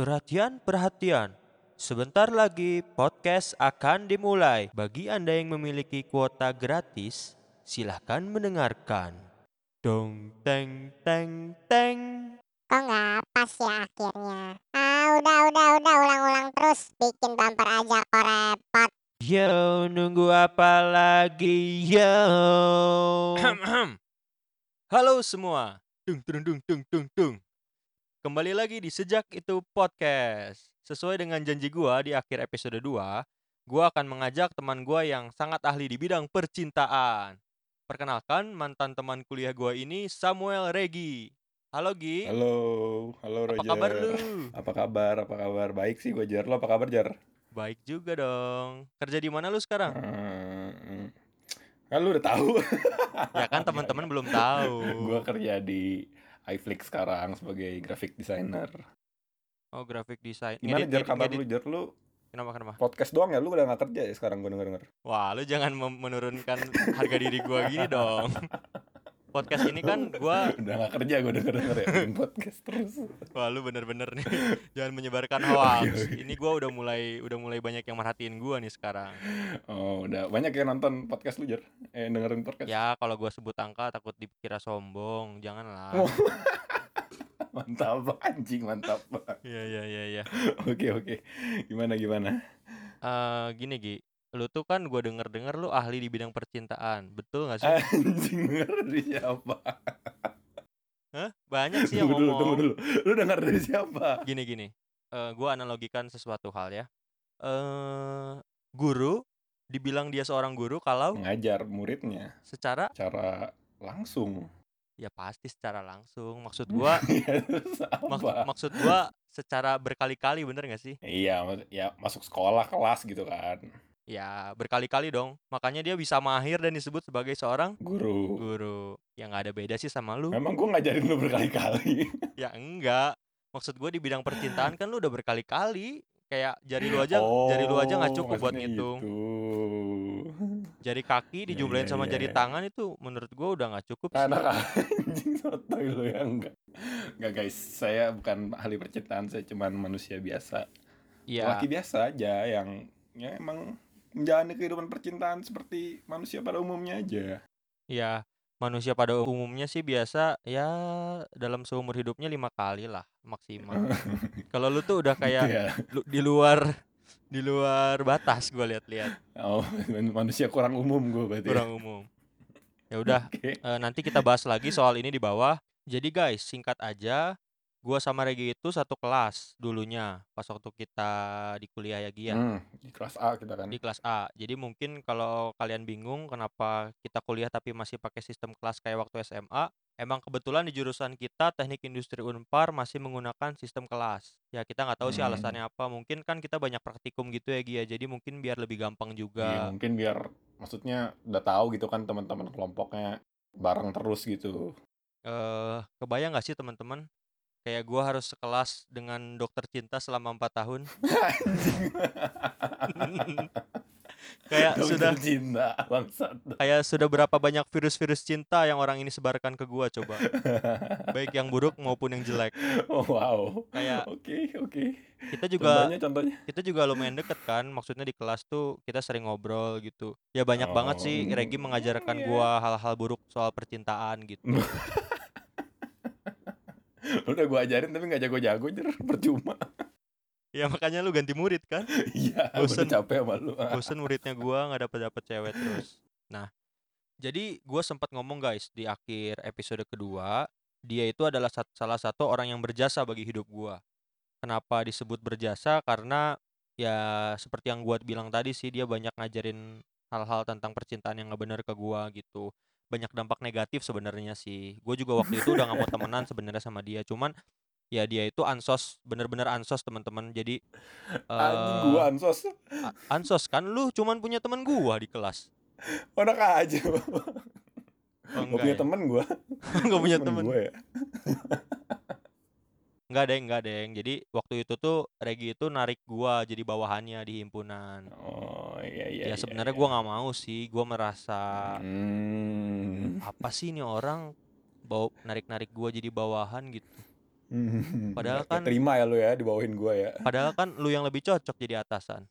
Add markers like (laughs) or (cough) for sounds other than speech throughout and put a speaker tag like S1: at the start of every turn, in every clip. S1: Perhatian-perhatian, sebentar lagi podcast akan dimulai. Bagi Anda yang memiliki kuota gratis, silahkan mendengarkan. Dong teng teng teng.
S2: Kok nggak pas ya akhirnya? Ah udah udah udah ulang-ulang terus bikin bumper aja kok repot.
S1: Yo nunggu apa lagi yo? Halo semua. Dung dung dung dung dung dung. Kembali lagi di Sejak Itu Podcast. Sesuai dengan janji gua di akhir episode 2, gua akan mengajak teman gua yang sangat ahli di bidang percintaan. Perkenalkan mantan teman kuliah gua ini Samuel Regi. Halo Gi.
S3: Halo, halo
S1: Apa
S3: Roger.
S1: kabar lu?
S3: Apa kabar? Apa kabar? Baik sih gue Jar. Lo apa kabar Jar?
S1: Baik juga dong. Kerja di mana lu
S3: Ah. (laughs)
S1: sekarang?
S3: Hmm, kan lu udah tahu. (laughs)
S1: Ya kan teman-teman belum tahu.
S3: gue kerja di iFlix sekarang sebagai graphic designer.
S1: Oh, graphic design.
S3: Gimana
S1: Ngedit,
S3: Jar
S1: ngedit,
S3: kabar
S1: ngedit.
S3: lu Jar? Lu
S1: Kenapa kenapa?
S3: podcast doang ya? Lu udah gak kerja ya sekarang gue denger-denger?
S1: Wah, lu jangan mem- menurunkan harga diri gua gini
S3: (laughs)
S1: dong. Podcast ini kan gua
S3: (laughs) Udah gak kerja gue denger-denger ya? Bikin (laughs) podcast terus.
S1: wah lu bener-bener nih. Jangan
S3: (laughs)
S1: menyebarkan
S3: Oh,
S1: hoax.
S3: Oke, oke.
S1: Ini gua udah mulai udah mulai banyak yang merhatiin gua nih sekarang.
S3: Oh, udah banyak yang nonton podcast lu Jar? Eh, dengerin podcast?
S1: Ya, kalau gua sebut angka takut dikira sombong. Janganlah.
S3: Oh. (laughs) Mantap, anjing mantap. Oke,
S1: Iya, iya, iya, iya.
S3: (laughs) oke. Gimana, gimana?
S1: Eh, gini, Gi. Lu tuh kan gua denger-denger lu ahli di bidang percintaan. Betul gak sih?
S3: Eh. Anjing (laughs) denger dari siapa?
S1: Hah? Banyak sih yang
S3: Tunggu dulu, tunggu
S1: ngomong.
S3: dulu. Lu denger dari siapa?
S1: gini gini Eh gue analogikan sesuatu hal ya eh guru dibilang dia seorang guru kalau
S3: Mengajar muridnya
S1: secara
S3: cara langsung. (laughs)
S1: ya pasti secara langsung maksud gua
S3: Ya, terus
S1: maksud,
S3: apa?
S1: maksud gua secara berkali-kali bener gak sih
S3: Iya, mak- ya masuk sekolah kelas gitu kan.
S1: ya berkali-kali dong makanya dia bisa mahir dan disebut sebagai seorang
S3: Guru.
S1: guru yang nggak ada beda sih sama lu
S3: Memang gue ngajarin lu berkali-kali.
S1: ya enggak maksud gua di bidang percintaan kan lu udah berkali-kali kayak jari lu aja jari lu aja nggak
S3: Oh,
S1: cukup buat
S3: maksudnya
S1: ngitung
S3: gitu.
S1: jari kaki
S3: Iya,
S1: dijumlahin
S3: iya,
S1: sama
S3: iya,
S1: jari
S3: iya.
S1: tangan itu menurut gua udah nggak cukup sih.
S3: Anak anjing sotoy lu ya enggak. Enggak guys, saya bukan ahli percintaan, saya cuman manusia biasa.
S1: Iya.
S3: laki biasa aja yang ya emang menjalani kehidupan percintaan seperti manusia pada umumnya aja.
S1: Ya, manusia pada umumnya sih biasa ya dalam seumur hidupnya lima kali lah
S3: (laughs)
S1: maksimal. Kalau lu tuh udah kayak
S3: Iya.
S1: lu- di luar di luar batas gua lihat-lihat
S3: Oh, (laughs) manusia kurang umum gue berarti. ya.
S1: kurang umum. Ya udah,
S3: (laughs) Oke.
S1: eh, nanti kita bahas lagi soal ini di bawah. Jadi guys, singkat aja, gua sama Regi itu satu kelas dulunya pas waktu kita di kuliah ya Gia.
S3: Hmm, di kelas A kita kan.
S1: di kelas A. Jadi mungkin kalau kalian bingung kenapa kita kuliah tapi masih pakai sistem kelas kayak waktu SMA, emang kebetulan di jurusan kita Teknik Industri Unpar masih menggunakan sistem kelas. Ya kita nggak tahu sih
S3: Hmm.
S1: alasannya apa. Mungkin kan kita banyak praktikum gitu ya Gia. Jadi mungkin biar lebih gampang
S3: Iya,
S1: juga.
S3: mungkin biar maksudnya udah tahu gitu kan teman-teman kelompoknya bareng terus gitu.
S1: Eh, kebayang nggak sih teman-teman? Kayak gua harus sekelas dengan dokter cinta selama empat
S3: (laughs)
S1: tahun.
S3: Anjing.
S1: (laughs) kayak
S3: Dokter
S1: sudah
S3: cinta
S1: (laughs)
S3: bangsat.
S1: kayak sudah berapa banyak virus-virus cinta yang orang ini sebarkan ke gua coba. Baik yang buruk maupun yang jelek.
S3: Oh, wow.
S1: Kayak-
S3: Oke, oke.
S1: Kita juga
S3: Contohnya contohnya.
S1: kita juga lumayan deket kan maksudnya di kelas tuh kita sering ngobrol gitu ya banyak banget sih
S3: Oh,
S1: Regi mengajarkan
S3: iya.
S1: gua hal-hal buruk soal percintaan gitu
S3: Udah gue ajarin tapi nggak jago-jago jer percuma. (laughs)
S1: ya makanya lu ganti murid kan
S3: Iya, gue
S1: Bosen.
S3: udah capek sama lu.
S1: (laughs)
S3: Ah.
S1: bosen muridnya gua nggak dapet dapet cewek terus nah jadi gua sempat ngomong guys di akhir episode kedua dia itu adalah sat- salah satu orang yang berjasa bagi hidup gua kenapa disebut berjasa karena ya seperti yang gua bilang tadi sih dia banyak ngajarin hal-hal tentang percintaan yang gak bener ke gua gitu banyak dampak negatif sebenarnya sih gue juga waktu itu udah gak mau
S3: (laughs)
S1: temenan sebenarnya sama dia cuman ya dia itu ansos bener-bener ansos teman-teman jadi
S3: Anjing
S1: eh,
S3: gua ansos.
S1: A- ansos kan lu cuman punya temen gua di kelas
S3: Enak aja.
S1: Oh,
S3: Gak punya
S1: ya? (laughs)
S3: temen gua.
S1: Nggak punya temen
S3: gua ya.
S1: nggak deng nggak deng jadi waktu itu tuh Regi itu narik gua jadi bawahannya di himpunan
S3: Oh, iya iya.
S1: ya sebenarnya gua nggak mau sih gua
S3: (laughs)
S1: merasa
S3: Hmm.
S1: apa sih ini orang bau narik narik gua jadi bawahan gitu Padahal
S3: Ya,
S1: kan-
S3: terima ya lu ya dibawahin gua ya. (laughs)
S1: Padahal kan lu yang lebih cocok jadi atasan.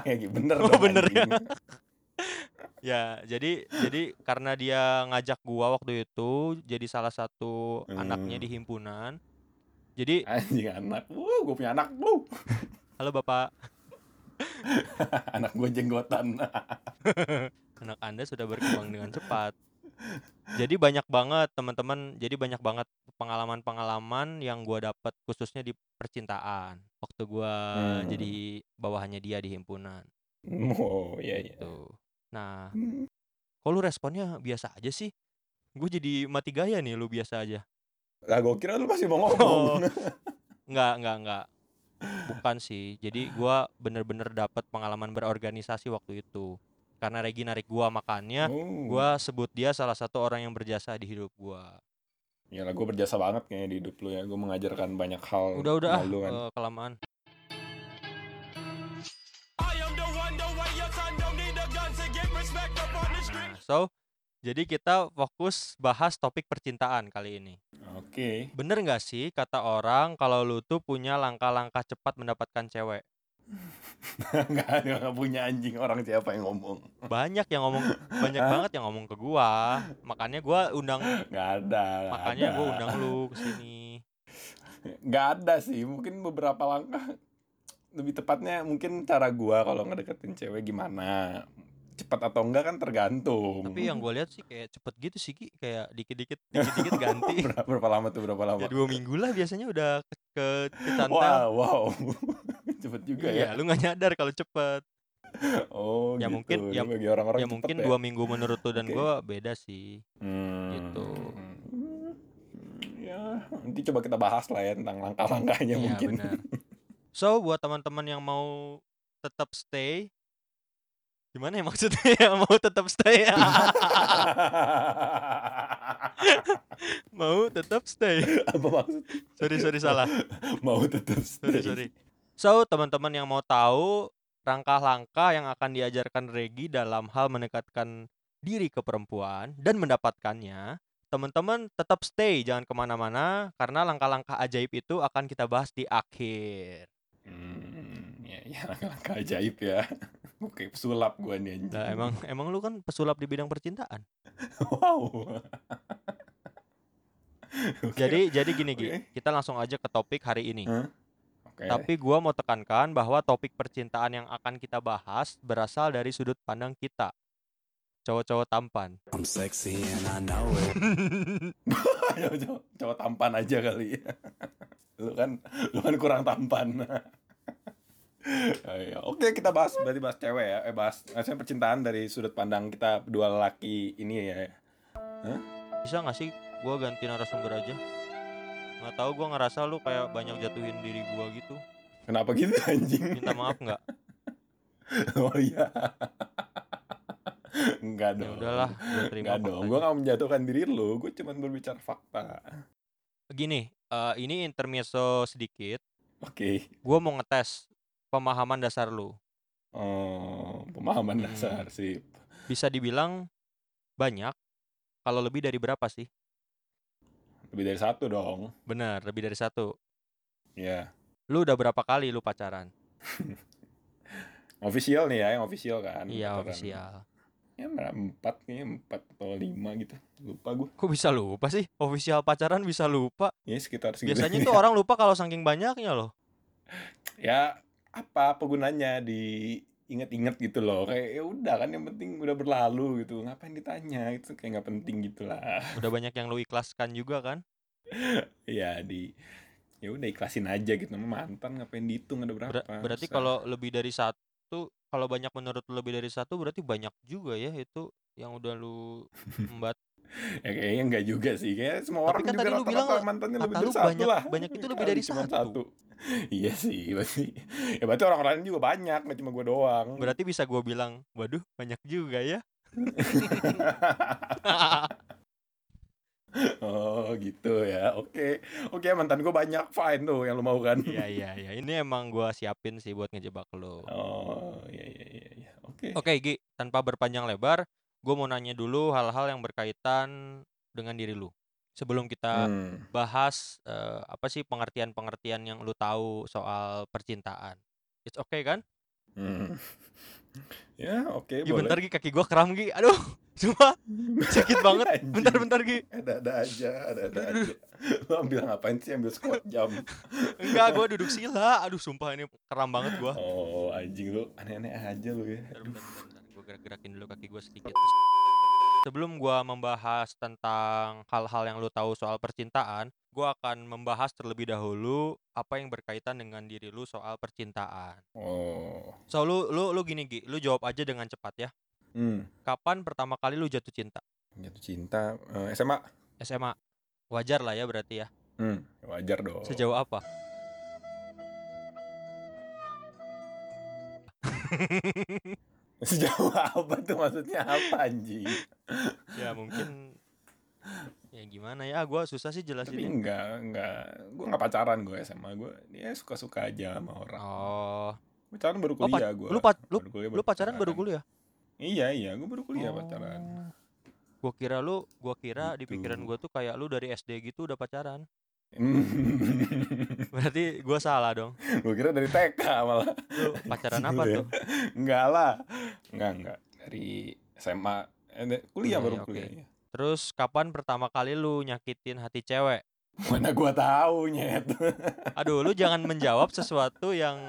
S3: Kayak Ya, gitu. bener
S1: Oh,
S3: dong,
S1: bener ya.
S3: anjing.
S1: Ya, jadi jadi karena dia ngajak gua waktu itu jadi salah satu anaknya
S3: Hmm.
S1: di himpunan. Jadi,
S3: Anjing anak. Wuh, gua punya anak. Wuh. (laughs)
S1: halo Bapak,
S3: anak gua jenggotan. (laughs)
S1: anak Anda sudah berkembang dengan cepat. Jadi banyak banget teman-teman, jadi banyak banget pengalaman-pengalaman yang gua dapat khususnya di percintaan waktu gua
S3: Hmm.
S1: jadi bawahannya dia di himpunan.
S3: oh, iya iya.
S1: Gitu. Nah, kok lu responnya biasa aja sih? Gue jadi mati gaya nih lu biasa aja.
S3: Lah gua kira lu pasti mau
S1: Oh,
S3: ngomong.
S1: Enggak, enggak, enggak. Bukan sih. Jadi gua bener-bener dapat pengalaman berorganisasi waktu itu. Karena Regi narik gua makannya,
S3: (laughs) Oh.
S1: gua sebut dia salah satu orang yang berjasa di hidup gua.
S3: Ya lah, gue berjasa banget kayaknya di hidup lu ya. Gue mengajarkan banyak hal.
S1: Udah, udah ah,
S3: sama lu kan.
S1: eh, kelamaan. Nah, so jadi kita fokus bahas topik percintaan kali ini.
S3: Oke. (laughs)
S1: Bener nggak sih kata orang kalau lu tuh punya langkah-langkah cepat mendapatkan cewek?
S3: Enggak ada nggak punya anjing orang siapa yang ngomong.
S1: Banyak yang ngomong,
S3: (laughs)
S1: banyak banget yang ngomong ke gua. Makanya gua undang
S3: Enggak ada. nggak
S1: Makanya
S3: ada.
S1: gue undang lu ke
S3: (laughs)
S1: sini.
S3: Nggak ada sih. Mungkin beberapa langkah lebih tepatnya mungkin cara gua kalau ngedeketin cewek gimana cepat atau enggak kan tergantung
S1: Tapi yang gue lihat sih kayak cepet gitu sih, Ki. kayak
S3: (laughs)
S1: dikit-dikit, dikit-dikit ganti.
S3: berapa, berapa lama tuh berapa lama
S1: ya dua minggu lah biasanya udah ke ke, ke cantel.
S3: wow wow (laughs) cepet juga
S1: Iya,
S3: ya
S1: lu nggak nyadar kalau cepet.
S3: oh
S1: Ya
S3: gitu.
S1: mungkin-
S3: Ini
S1: ya-
S3: bagi orang-orang
S1: ya
S3: cepet
S1: mungkin dua minggu menurut lu dan
S3: Oke.
S1: gua beda sih.
S3: Hmm.
S1: Gitu.
S3: Hmm, Ya, nanti coba kita bahas lah ya tentang langkah-langkahnya
S1: Iya
S3: mungkin.
S1: benar. (laughs) So buat teman-teman yang mau tetap stay, gimana ya maksudnya (laughs) ya mau tetap stay,
S3: (laughs)
S1: mau tetap stay.
S3: (laughs) Apa maksud?
S1: Sorry sorry salah.
S3: Mau tetap
S1: Sorry,
S3: stay.
S1: sorry. So, teman-teman yang mau tahu langkah-langkah yang akan diajarkan Regi dalam hal mendekatkan diri ke perempuan dan mendapatkannya, teman-teman tetap stay, jangan kemana-mana, karena langkah-langkah ajaib itu akan kita bahas di akhir.
S3: Hmm, ya, ya langkah-langkah ajaib ya. (laughs) Oke, pesulap gua nih anjing.
S1: Nah, emang emang lu kan pesulap di bidang percintaan. (laughs)
S3: wow. Oke,
S1: Jadi jadi gini, Gi.
S3: (laughs) Oke.
S1: Kita langsung aja ke topik hari ini.
S3: oke.
S1: Tapi gua mau tekankan bahwa topik percintaan yang akan kita bahas berasal dari sudut pandang kita. Cowok-cowok tampan.
S3: (laughs) Ayo, coba, coba tampan aja kali (laughs) ya. Lu kan lu kan kurang tampan. (laughs) Ayo, Oke kita bahas berarti bahas cewek ya, eh, bahas maksudnya percintaan dari sudut pandang kita dua laki ini ya.
S1: bisa nggak sih gue ganti narasumber aja nggak tahu gue ngerasa lu kayak banyak jatuhin diri gue gitu
S3: Kenapa gitu anjing? (laughs)
S1: minta maaf nggak
S3: Oh iya. (laughs) Enggak
S1: ya
S3: dong.
S1: udahlah gue terima
S3: Enggak dong,
S1: faktanya.
S3: gue gak menjatuhkan diri lu, gue cuman berbicara fakta
S1: gini eh, ini intermezzo sedikit
S3: Oke,
S1: gue mau ngetes pemahaman dasar lu
S3: oh, pemahaman
S1: Hmm.
S3: dasar sih
S1: bisa dibilang banyak kalau lebih dari berapa sih
S3: Lebih dari satu dong
S1: benar lebih dari satu
S3: Ya,
S1: lu udah berapa kali lu pacaran
S3: official nih ya, yang official kan
S1: iya
S3: Beneran.
S1: official
S3: ya mana empat nih empat atau lima gitu lupa gue
S1: kok bisa lupa sih official pacaran bisa lupa
S3: ya sekitar segitu (laughs)
S1: biasanya tuh orang lupa kalau saking banyaknya loh
S3: ya apa penggunanya di inget-inget gitu loh kayak ya udah kan yang penting udah berlalu gitu ngapain ditanya itu kayak nggak penting gitu lah (laughs)
S1: udah banyak yang lu ikhlaskan juga kan
S3: ya di ya udah ikhlasin aja gitu Emang mantan ngapain dihitung ada berapa
S1: Ber- berarti
S3: Usah.
S1: kalau lebih dari satu, kalau banyak menurut lu lebih dari satu, berarti banyak juga ya itu yang udah lu embat.
S3: ya kayaknya enggak juga sih kayak semua
S1: Tapi
S3: orang
S1: kan
S3: juga
S1: tadi lu
S3: rata-rata
S1: bilang,
S3: mantannya lebih
S1: kata
S3: dari
S1: lu
S3: satu
S1: banyak-
S3: lah
S1: banyak
S3: (laughs)
S1: itu lebih
S3: Kali
S1: dari
S3: cuma
S1: satu.
S3: iya sih berarti (laughs) ya berarti orang lain juga banyak nggak cuma gue doang
S1: Berarti bisa gua bilang, waduh banyak juga ya.
S3: (laughs)
S1: (laughs)
S3: Oh gitu ya, oke Oke mantan gue banyak, fine tuh yang lo mau kan
S1: Iya iya iya. Ini emang gua siapin sih buat ngejebak lu.
S3: Oh iya iya iya, iya. oke
S1: Oke Gi, tanpa berpanjang lebar, gue mau nanya dulu hal-hal yang berkaitan dengan diri lu sebelum kita
S3: Hmm.
S1: bahas eh, apa sih pengertian-pengertian yang lu tahu soal percintaan it's okay kan
S3: Hmm. (laughs) ya oke
S1: Gi,
S3: boleh.
S1: bentar
S3: (laughs)
S1: Gi, kaki gue kram Gi. aduh (laughs) cuma sakit banget
S3: Anjing.
S1: bentar-bentar Gi.
S3: Ada-ada aja, ada-ada
S1: (laughs)
S3: aja. Lo ambil ngapain sih ambil squat jam?
S1: enggak gue duduk sila aduh sumpah ini kram banget gue
S3: Oh, anjing lu aneh-aneh aja lu ya.
S1: Bentar,
S3: Aduh.
S1: bentar, bentar, Gue gerak-gerakin dulu kaki gue sedikit. Sebelum gua membahas tentang hal-hal yang lu tahu soal percintaan, gua akan membahas terlebih dahulu apa yang berkaitan dengan diri lu soal percintaan.
S3: Oh.
S1: So lu lu lu gini Gi, lu jawab aja dengan cepat ya.
S3: Hmm.
S1: Kapan pertama kali lu jatuh cinta?
S3: Jatuh cinta eh, SMA.
S1: SMA. Wajar lah ya berarti ya.
S3: Hmm. Wajar dong.
S1: Sejauh apa?
S3: (laughs) Sejauh apa tuh maksudnya apa anjing?
S1: ya mungkin ya gimana ya gua susah sih
S3: Tapi
S1: jelasin.
S3: enggak, enggak. Gue enggak pacaran gue SMA gue. Dia ya, suka-suka aja sama orang.
S1: Oh,
S3: Pacaran baru
S1: Oh,
S3: kuliah gue.
S1: lu pac- lu-
S3: kuliah,
S1: lu pacaran baru kuliah?
S3: Iya, iya, gue baru kuliah pacaran. (laughs)
S1: Oh. Gua kira lu, gua kira di pikiran
S3: Gitu.
S1: gua tuh kayak lu dari SD gitu udah pacaran. (laughs)
S3: Hmm.
S1: Berarti gua salah dong.
S3: gue kira dari TK malah.
S1: Lu pacaran
S3: Anjing
S1: apa
S3: lu ya.
S1: tuh?
S3: Enggak lah. Enggak, enggak. Dari SMA eh, da-
S1: Kuliah,
S3: kuliah baru
S1: oke.
S3: kuliah. iya.
S1: Terus kapan pertama kali lu nyakitin hati cewek?
S3: Mana gua tahu nyet. (laughs)
S1: Aduh, lu jangan menjawab sesuatu yang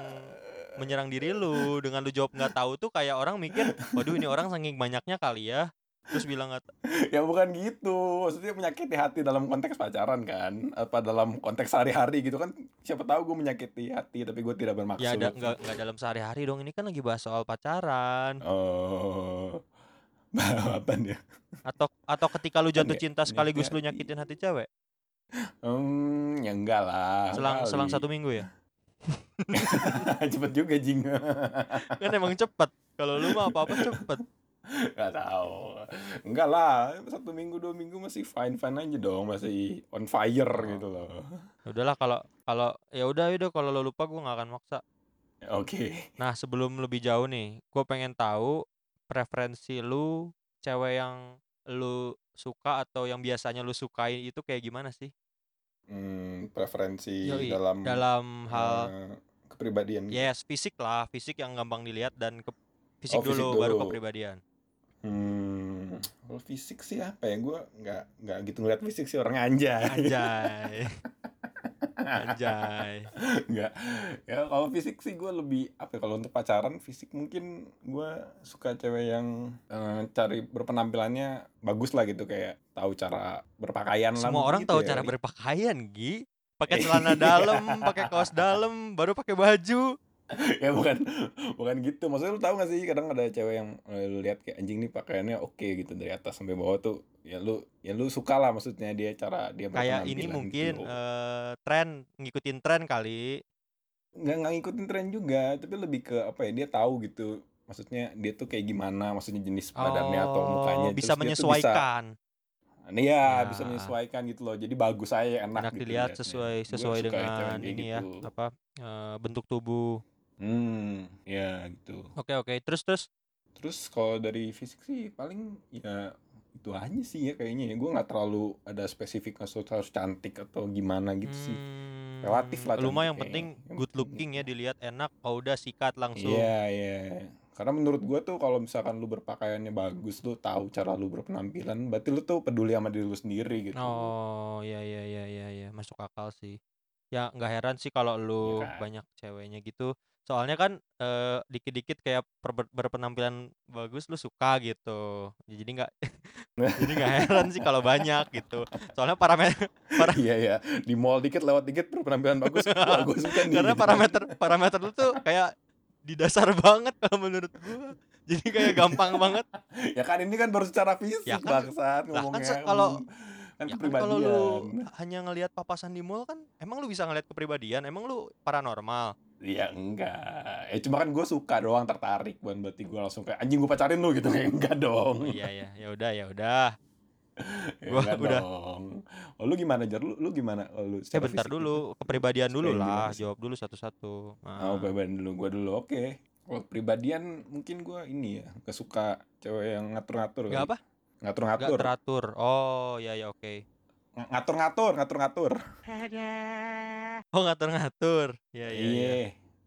S1: menyerang diri lu dengan lu jawab nggak tahu tuh kayak orang mikir, waduh ini orang saking banyaknya kali ya. Terus bilang nggak t-
S3: ya bukan gitu. Maksudnya menyakiti hati dalam konteks pacaran kan? Apa dalam konteks sehari-hari gitu kan? Siapa tahu gue menyakiti hati tapi gue tidak bermaksud.
S1: ya ada nggak nggak dalam sehari-hari dong ini kan lagi bahas soal pacaran
S3: Oh. (laughs) Jawaban ya.
S1: atau atau ketika lu jatuh
S3: Nggak-
S1: cinta sekaligus lu
S3: nyakiti.
S1: nyakitin hati cewek
S3: Hmm, ya enggak lah.
S1: selang selang
S3: kali.
S1: satu minggu ya
S3: (laughs) Cepet juga jing. (laughs)
S1: kan emang cepet kalau lu mah apa apa cepet
S3: Gak tahu. Enggak lah, satu minggu dua minggu masih fine fine aja dong, masih on fire gitu loh.
S1: Ya udahlah kalau kalau ya udah udah kalau lo lupa gue nggak akan maksa
S3: Oke.
S1: nah sebelum lebih jauh nih gue pengen tahu preferensi lu cewek yang lu suka atau yang biasanya lu sukain itu kayak gimana sih
S3: Hmm, preferensi
S1: Yoi,
S3: dalam
S1: dalam hal Ya,
S3: eh, kepribadian. gitu.
S1: yes fisik lah fisik yang gampang dilihat dan ke fisik,
S3: Oh, fisik
S1: dulu, baru
S3: dulu. (laughs)
S1: kepribadian
S3: Hmm, kalau fisik sih apa ya? Gue nggak nggak gitu ngeliat fisik sih orang anjay.
S1: (laughs) anjay anjay
S3: (laughs) Nggak. Ya kalau fisik sih gue lebih apa? ya, Kalau untuk pacaran fisik mungkin gue suka cewek yang eh, cari berpenampilannya bagus lah gitu kayak tahu cara berpakaian lah.
S1: semua
S3: mungkin
S1: orang
S3: gitu
S1: tahu
S3: ya (laughs)
S1: cara
S3: kali.
S1: berpakaian Gi pakai celana dalam pakai kaos dalam baru pakai baju
S3: ya bukan bukan gitu maksudnya lu tahu gak sih kadang ada cewek yang eh, lu lihat kayak anjing nih pakaiannya oke gitu dari atas sampai bawah tuh ya lu ya lu suka lah maksudnya dia cara dia
S1: kayak ini
S3: berpenampilan
S1: mungkin
S3: gitu.
S1: eh, tren ngikutin tren kali
S3: nggak nggak ngikutin tren juga tapi lebih ke apa ya dia tahu gitu maksudnya dia tuh kayak gimana maksudnya jenis badannya atau mukanya
S1: Oh, bisa
S3: Terus dia tuh
S1: menyesuaikan
S3: bisa, nah, iya
S1: Ya.
S3: bisa menyesuaikan gitu loh jadi bagus aja enak,
S1: enak
S3: gitu
S1: dilihat
S3: liatnya.
S1: sesuai
S3: Gua
S1: sesuai
S3: suka cewek
S1: dengan
S3: kayak
S1: ini ya
S3: gitu.
S1: apa eh, bentuk tubuh
S3: hmm ya gitu
S1: oke oke terus terus
S3: Terus kalau dari fisik sih paling ya itu aja sih ya kayaknya ya. Gue nggak terlalu ada spesifik harus harus cantik atau gimana gitu sih. Relatif lah
S1: Hmm, lu mah
S3: cantik
S1: yang
S3: kayaknya.
S1: penting
S3: Yang
S1: good
S3: penting gitu.
S1: looking ya dilihat enak oh udah sikat langsung
S3: Iya iya. Karena menurut gue tuh kalau misalkan lu berpakaiannya bagus, lu tahu cara lu berpenampilan, berarti lu tuh peduli sama diri lu sendiri gitu.
S1: Oh ya ya ya ya ya masuk akal sih. Ya nggak heran sih kalau lu
S3: kan?
S1: banyak ceweknya gitu. Soalnya kan eh, dikit-dikit kayak perbe- berpenampilan bagus lu suka gitu. Ya, Jadi nggak (laughs) jadi nggak heran sih kalau banyak gitu. Soalnya
S3: (laughs)
S1: parameter
S3: (laughs) iya iya. Di mall dikit lewat dikit berpenampilan
S1: (laughs)
S3: bagus, wah gue suka nih.
S1: karena
S3: gitu.
S1: parameter parameter lu tuh kayak di dasar (laughs) banget kalau menurut gua. Jadi kayak gampang banget.
S3: Ya kan ini kan baru secara fisik
S1: Ya kan,
S3: bangsat
S1: lah kan
S3: ngomongnya.
S1: se- kalau-
S3: kan
S1: Ya kan kalau
S3: kepribadian.
S1: lu hanya ngelihat papasan di mall kan emang lu bisa ngelihat kepribadian, emang lu paranormal.
S3: Ya enggak. Ya cuma kan gue suka doang tertarik bukan berarti gue langsung kayak anjing gue pacarin lu gitu (laughs) kayak
S1: Oh
S3: enggak dong. (laughs)
S1: iya ya, ya udah ya udah.
S3: Ya,
S1: gua
S3: enggak
S1: udah.
S3: dong. Oh, lu gimana Jar? Lu, lu gimana? Oh, lu
S1: Eh
S3: secara
S1: bentar
S3: fisik gitu?
S1: dulu, kepribadian dulu
S3: Supaya gimana
S1: lah,
S3: sih?
S1: jawab dulu satu-satu.
S3: Oh,
S1: Nah,
S3: beban dulu, gue dulu. Oke. Kalau pribadian mungkin gua ini ya, gak suka cewek yang
S1: Gak
S3: ngatur-ngatur. kali.
S1: apa? Gak
S3: Ngatur-ngatur.
S1: teratur. Oh, ya ya oke.
S3: Ng- Ngatur-ngatur, ngatur-ngatur.
S1: Oh, ngatur-ngatur. Ya ya ya.
S3: Iya.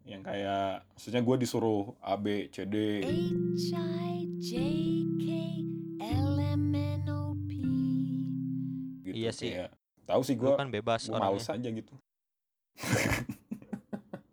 S3: Yang kayak maksudnya gua disuruh A B C D.
S1: Iya
S4: H I J K L M N O P.
S3: gitu.
S1: Iya sih.
S3: Kayak, tahu sih
S1: Lu
S3: gua
S1: kan bebas
S3: gue
S1: orangnya.
S3: males aja gitu (laughs)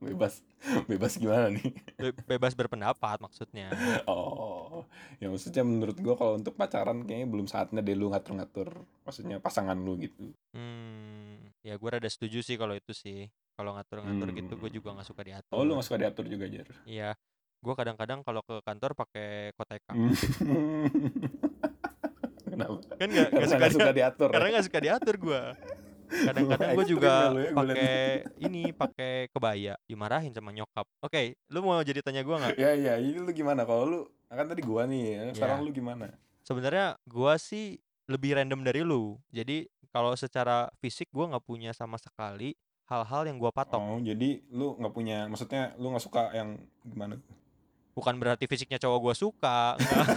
S3: bebas bebas gimana nih (laughs)
S1: Be- bebas berpendapat maksudnya.
S3: oh ya maksudnya menurut gua kalau untuk pacaran kayaknya belum saatnya deh lu ngatur-ngatur maksudnya pasangan lu gitu
S1: Hmm, ya gue rada setuju sih kalau itu sih. Kalau ngatur-ngatur gitu gue
S3: Hmm.
S1: juga nggak suka diatur.
S3: oh lu gak suka diatur juga jar
S1: Iya. Gue kadang-kadang kalau ke kantor pakai koteka.
S3: Hmm. gitu.
S1: (laughs)
S3: kenapa
S1: Kan nggak nggak
S3: Karena
S1: suka,
S3: (laughs) nggak
S1: dia-
S3: suka diatur
S1: karena
S3: ya?
S1: nggak suka diatur gue. Kadang-kadang
S3: Wah,
S1: gue
S3: ekstrim
S1: juga
S3: ya lu ya, gua liat.
S1: pakai ini, pakai kebaya, dimarahin sama nyokap. Oke, lu mau jadi tanya gue nggak?
S3: ya ya ini lu gimana kalau lu kan tadi gua nih ya. sekarang
S1: Iya.
S3: lu gimana
S1: Sebenarnya gue sih lebih random dari lu. Jadi kalau secara fisik gue nggak punya sama sekali hal-hal yang gue patok.
S3: oh jadi lu nggak punya maksudnya lu nggak suka yang gimana
S1: bukan berarti fisiknya cowok gue suka enggak.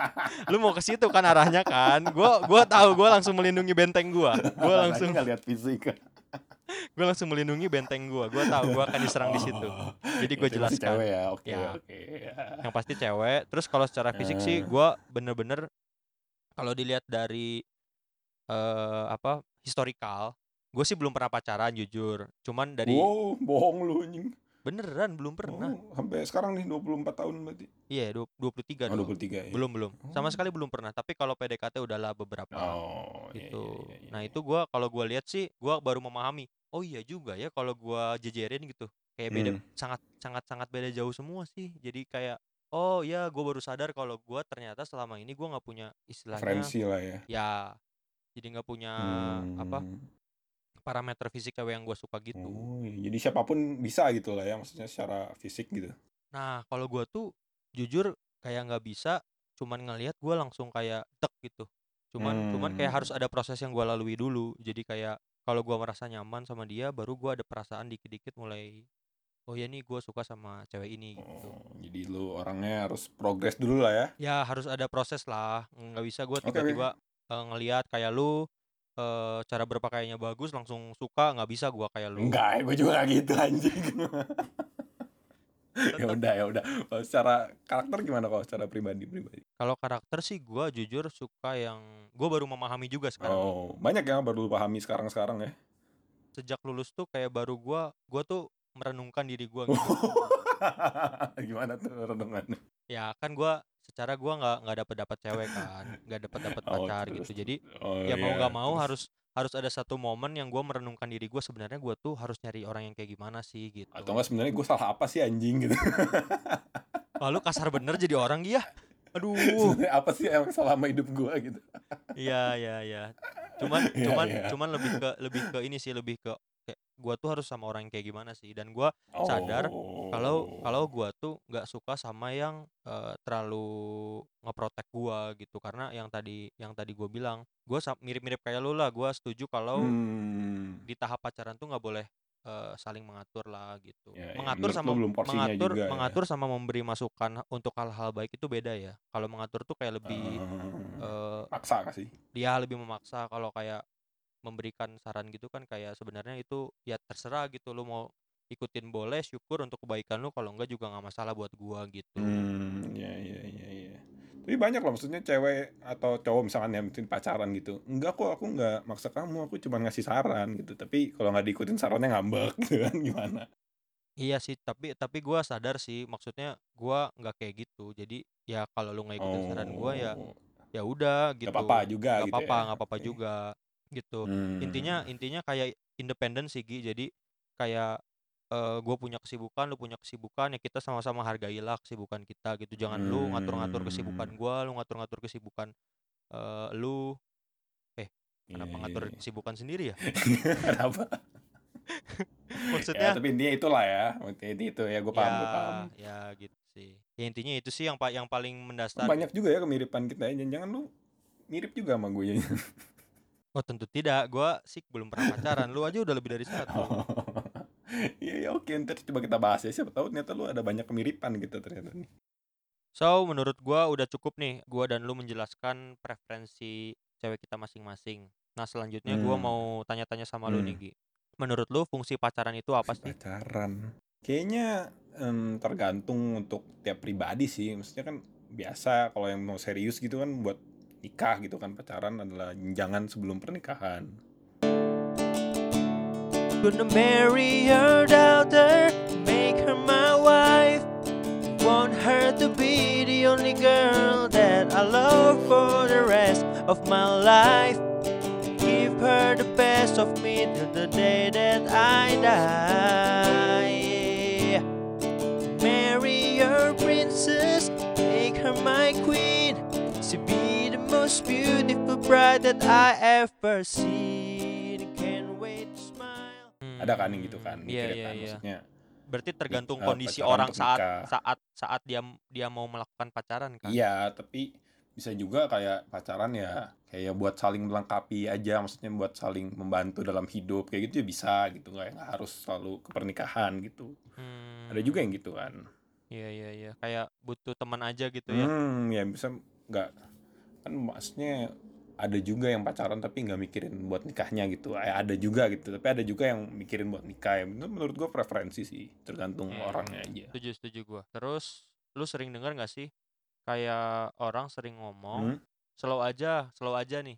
S1: (laughs) lu mau ke situ kan arahnya kan gue gua tahu gue langsung melindungi benteng gue gue langsung
S3: nggak lihat fisik
S1: gue langsung melindungi benteng gue gue tahu gue akan diserang di situ Jadi gua
S3: Itu masih
S1: jelaskan.
S3: cewek Oh, ya oke
S1: Ya.
S3: oke ya.
S1: yang pasti cewek terus kalau secara fisik sih
S3: Eh.
S1: gue bener-bener kalau dilihat dari eh apa historical gue sih belum pernah pacaran jujur cuman dari
S3: wow bohong lu anjing
S1: beneran belum pernah
S3: Oh, sampai sekarang nih 24 tahun berarti
S1: iya dua 23
S3: oh,
S1: dong.
S3: 23 ya.
S1: belum belum sama
S3: Oh.
S1: sekali belum pernah tapi kalau PDKT udahlah beberapa
S3: oh iya,
S1: gitu.
S3: iya, iya,
S1: Nah,
S3: iya.
S1: itu gua kalau gua lihat sih gua baru memahami. Oh iya juga ya kalau gua jejerin gitu. Kayak beda
S3: Hmm.
S1: sangat sangat sangat beda jauh semua sih. Jadi kayak oh ya gua baru sadar kalau gua ternyata selama ini gua nggak punya istilahnya
S3: referensi lah ya
S1: ya jadi nggak punya apa
S3: Hmm.
S1: parameter fisik cewek yang gua suka gitu.
S3: oh, iya. jadi siapapun bisa gitu lah ya maksudnya secara fisik gitu
S1: Nah, kalau gua tuh jujur kayak nggak bisa cuman ngelihat gua langsung kayak tek gitu. Cuman cuman kayak harus
S3: Hmm.
S1: ada proses yang gua lalui dulu. Jadi kayak kalau gua merasa nyaman sama dia baru gua ada perasaan dikit-dikit mulai oh ya nih gua suka sama cewek ini gitu.
S3: oh, jadi lu orangnya harus progres dulu lah ya
S1: Ya harus ada proses lah. nggak bisa gua
S3: Oke, oke.
S1: tiba-tiba eh, ngelihat kayak lu eh, cara berpakaiannya bagus langsung suka nggak bisa ya, gua kayak lu.
S3: enggak gue juga gak gitu anjing (laughs) ya
S1: Tetep
S3: udah ya udah kalau secara karakter gimana kalau secara pribadi pribadi
S1: Kalau karakter sih gua jujur suka yang gua baru memahami juga sekarang.
S3: oh banyak yang baru lu pahami sekarang sekarang
S1: (laughs)
S3: ya
S1: sejak lulus tuh kayak baru gua gua tuh merenungkan diri gua
S3: (laughs)
S1: gitu.
S3: gimana tuh renungannya
S1: ya kan gua secara gua nggak nggak dapet dapat cewek kan nggak dapet dapat
S3: (laughs) Oh,
S1: pacar
S3: terus,
S1: gitu jadi
S3: Oh,
S1: ya mau
S3: iya,
S1: nggak mau
S3: terus.
S1: harus harus ada satu momen yang gua merenungkan diri gua sebenarnya gua tuh harus nyari orang yang kayak gimana sih gitu
S3: atau enggak sebenarnya gue salah apa sih anjing gitu
S1: Wah, lu kasar bener jadi orang ya aduh
S3: Sebenarnya (laughs) apa sih yang salah sama hidup gue gitu
S1: iya iya iya cuman
S3: Iya,
S1: cuman
S3: iya.
S1: cuman lebih ke lebih ke ini sih lebih ke kayak gua tuh harus sama orang yang kayak gimana sih dan gua Sadar,
S3: Oh.
S1: kalau kalau gua tuh nggak suka sama yang eh, terlalu ngeprotek gua gitu karena yang tadi yang tadi gua bilang gua sa- mirip-mirip kayak lu lah gua setuju kalau
S3: Hmm.
S1: di tahap pacaran tuh nggak boleh eh, saling mengatur lah gitu
S3: Ya, ya,
S1: mengatur
S3: menurut
S1: sama
S3: lu belum porsinya
S1: mengatur
S3: juga ya.
S1: mengatur sama memberi masukan untuk hal-hal baik itu beda ya kalau mengatur tuh kayak lebih eh,
S3: Ah, paksa gak sih
S1: dia lebih memaksa kalau kayak memberikan saran gitu kan kayak sebenarnya itu ya terserah gitu lu mau ikutin boleh syukur untuk kebaikan lu kalau enggak juga nggak masalah buat gua gitu
S3: hmm ya ya ya ya tapi banyak loh maksudnya cewek atau cowok misalkan yang mungkin pacaran gitu enggak kok aku enggak maksa kamu aku cuma ngasih saran gitu tapi kalau nggak diikutin sarannya ngambek (laughs) gitu kan gimana
S1: iya sih tapi tapi gua sadar sih maksudnya gua nggak kayak gitu jadi ya kalau lu nggak ikutin saran gua ya
S3: Oh,
S1: ya udah gitu
S3: nggak apa-apa juga
S1: nggak
S3: gitu
S1: apa-apa
S3: ya.
S1: nggak apa-apa
S3: Oke.
S1: juga gitu
S3: Hmm.
S1: intinya intinya kayak independen sih Gi jadi kayak eh gue punya kesibukan lu punya kesibukan ya kita sama-sama hargailah kesibukan kita gitu jangan lu ngatur-ngatur kesibukan
S3: Hmm.
S1: gua lu ngatur-ngatur kesibukan eh lu kenapa
S3: Iya,
S1: ngatur
S3: iya, iya.
S1: kesibukan sendiri
S3: (laughs)
S1: ya (laughs)
S3: Kenapa? Ya,
S1: maksudnya
S3: tapi intinya itulah ya. Intinya itu ya gue paham,
S1: ya
S3: gue paham.
S1: ya gitu sih ya intinya itu sih yang pa- yang paling mendasar
S3: Banyak juga ya kemiripan kita ya. Jangan lu mirip juga sama gue. (laughs)
S1: oh
S3: Oh.
S1: tentu tidak gua sih belum pernah pacaran lu aja udah lebih dari satu
S3: Iya, iya, oke. Ntar coba kita bahas ya. Siapa tahu ternyata lu ada banyak kemiripan gitu ternyata. nih.
S1: So, menurut gua udah cukup nih gua dan lu menjelaskan preferensi cewek kita masing-masing. Nah, selanjutnya gua
S3: Hmm.
S1: mau tanya-tanya sama lu nih,
S3: Hmm.
S1: Gi. Menurut lu fungsi pacaran itu apa
S3: Si
S1: sih?
S3: Pacaran. Kayaknya em, tergantung untuk tiap pribadi sih. Maksudnya kan biasa kalau yang mau serius gitu kan buat nikah gitu kan pacaran adalah jangan sebelum pernikahan.
S1: Gonna marry your daughter, make her my wife. Want her to be the only girl that I love for the rest of my life. Give her the best of me till the day that I die. Marry your princess, make her my queen. She be the most beautiful bride that I ever seen. Can't wait to smile.
S3: Ada kan yang gitu kan?
S1: Iya
S3: mikirnya
S1: iya
S3: kan,
S1: iya.
S3: Maksudnya
S1: Berarti tergantung
S3: eh,
S1: kondisi
S3: pacaran
S1: orang
S3: untuk
S1: saat
S3: nikah.
S1: saat saat dia dia mau melakukan pacaran kan.
S3: Iya, tapi bisa juga kayak pacaran ya kayak buat saling melengkapi aja, maksudnya buat saling membantu dalam hidup kayak gitu ya bisa gitu kayak nggak harus selalu ke pernikahan gitu.
S1: Hmm.
S3: Ada juga yang gitu kan.
S1: Iya iya iya. Kayak butuh teman aja gitu ya.
S3: Hmm, ya bisa nggak kan maksudnya ada juga yang pacaran tapi nggak mikirin buat nikahnya gitu. Eh, Ada juga gitu, tapi ada juga yang mikirin buat nikah. Ya, menurut- menurut gua preferensi sih, tergantung
S1: Iya.
S3: orangnya aja.
S1: Setuju setuju gua. Terus lu sering dengar nggak sih kayak orang sering ngomong
S3: Hmm?
S1: slow aja, slow aja nih.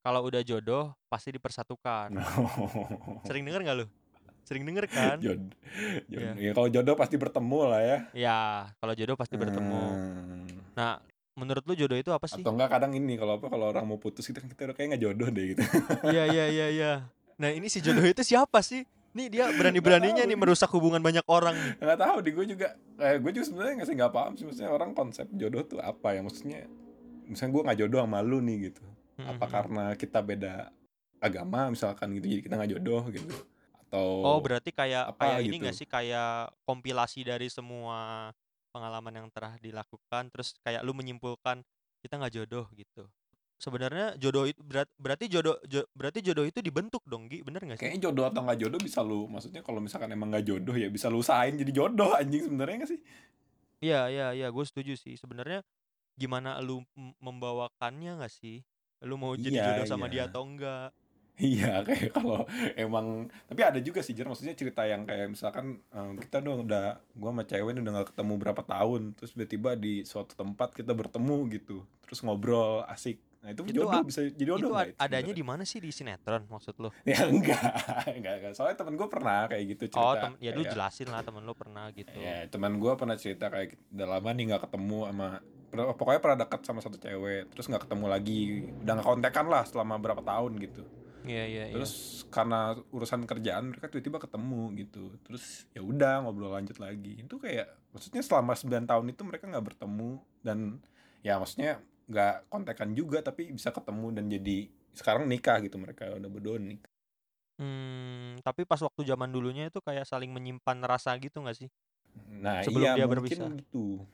S1: Kalau udah jodoh pasti
S3: (laughs) Nah.
S1: dipersatukan. Sering dengar nggak lu? Sering denger kan?
S3: Jod- jod- ya, kalau jodoh pasti bertemu lah ya.
S1: ya, kalau jodoh pasti bertemu.
S3: Hmm.
S1: Nah, menurut lu jodoh itu apa sih?
S3: Atau enggak kadang ini kalau apa kalau orang mau putus gitu kan kita udah kayak nggak jodoh deh gitu. (laughs)
S1: Iya iya iya iya. Nah ini si jodoh itu siapa sih? Nih dia berani-beraninya
S3: tahu
S1: nih
S3: nih.
S1: merusak hubungan banyak orang nih.
S3: nggak tahu di gue juga kayak gue juga sebenarnya nggak sih nggak paham sih maksudnya orang konsep jodoh tuh apa ya maksudnya misalnya gue nggak jodoh sama lu nih gitu apa
S1: Mhm.
S3: karena kita beda agama misalkan gitu jadi kita nggak jodoh gitu atau
S1: Oh berarti kayak
S3: gitu. apa
S1: kayak ini
S3: gitu.
S1: gak sih kayak kompilasi dari semua pengalaman yang telah dilakukan terus kayak lu menyimpulkan kita nggak jodoh gitu. Sebenarnya jodoh itu berat- berarti jodoh jo- berarti jodoh itu dibentuk dong Gi, bener gak sih?
S3: kayaknya jodoh atau nggak jodoh bisa lu maksudnya kalau misalkan emang nggak jodoh ya bisa lu usahain jadi jodoh anjing sebenarnya nggak sih (laughs)
S1: Iya iya iya gue setuju sih. Sebenarnya gimana lu m- membawakannya gak sih? Lu mau jadi
S3: Iya,
S1: jodoh sama dia
S3: iya.
S1: atau enggak?
S3: Iya kayak kalau emang tapi ada juga sih Jer maksudnya cerita yang kayak misalkan em, kita udah udah gua sama cewek ini udah gak ketemu berapa tahun terus tiba-tiba di suatu tempat kita bertemu gitu terus ngobrol asik nah itu,
S1: Itu
S3: jodoh
S1: a-
S3: bisa jadi jodoh
S1: Itu
S3: nggak
S1: ad- adanya di mana sih di sinetron maksud lu?
S3: sebenarnya? (laughs) ya enggak enggak enggak soalnya temen gue pernah kayak gitu cerita
S1: Oh, tem- ya lu
S3: kayak-
S1: jelasin lah temen lu pernah gitu.
S3: Ya, teman gua pernah cerita kayak udah lama nih nggak ketemu sama per- pokoknya pernah dekat sama satu cewek terus nggak ketemu lagi udah nggak kontekan lah selama berapa tahun gitu
S1: Iya, iya, iya.
S3: terus karena urusan kerjaan mereka tiba-tiba ketemu gitu terus ya udah ngobrol lanjut lagi itu kayak maksudnya selama 9 tahun itu mereka nggak bertemu dan ya maksudnya nggak kontekan juga tapi bisa ketemu dan jadi sekarang nikah gitu mereka udah berdua nikah
S1: Hmm, tapi pas waktu zaman dulunya itu kayak saling menyimpan rasa gitu nggak sih?
S3: nah
S1: Sebelum
S3: iya
S1: dia
S3: mungkin
S1: berpisah.
S3: gitu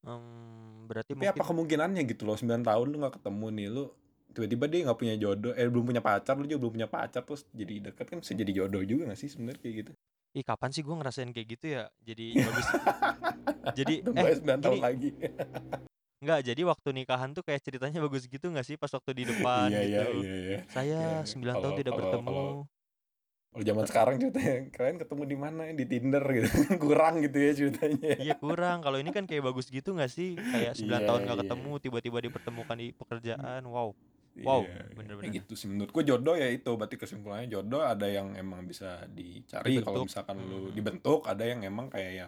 S1: Hmm, berarti
S3: tapi apa
S1: mungkin
S3: kemungkinannya gitu loh 9 tahun lu nggak ketemu nih lu tiba-tiba dia nggak punya jodoh eh belum punya pacar lu juga belum punya pacar terus jadi deket kan bisa jadi jodoh juga nggak sih sebenarnya kayak gitu
S1: ih kapan sih gue ngerasain kayak gitu ya? Jadi
S3: Iya. (laughs)
S1: bagus. jadi
S3: tunggu
S1: eh
S3: 9 tahun
S1: gini.
S3: lagi
S1: nggak jadi waktu nikahan tuh kayak ceritanya bagus gitu nggak sih pas waktu
S3: (laughs)
S1: di depan
S3: iya iya
S1: gitu.
S3: iya iya
S1: Saya
S3: Iya,
S1: 9 tahun
S3: kalau-
S1: tidak
S3: kalau-
S1: bertemu.
S3: kalau- Kalau Oh, zaman sekarang ceritanya kalian ketemu di mana di Tinder gitu (laughs) kurang gitu ya ceritanya.
S1: Iya kurang. Kalau ini kan kayak bagus gitu nggak sih? Kayak 9
S3: Iya,
S1: tahun nggak
S3: iya.
S1: ketemu tiba-tiba dipertemukan di pekerjaan. Wow. Wow,
S3: Iya, iya.
S1: bener-bener.
S3: Ya gitu sih menurut gua jodoh ya itu berarti kesimpulannya jodoh ada yang emang bisa dicari kalau
S1: Dibentuk.
S3: misalkan
S1: Mm.
S3: lu dibentuk ada yang emang kayak ya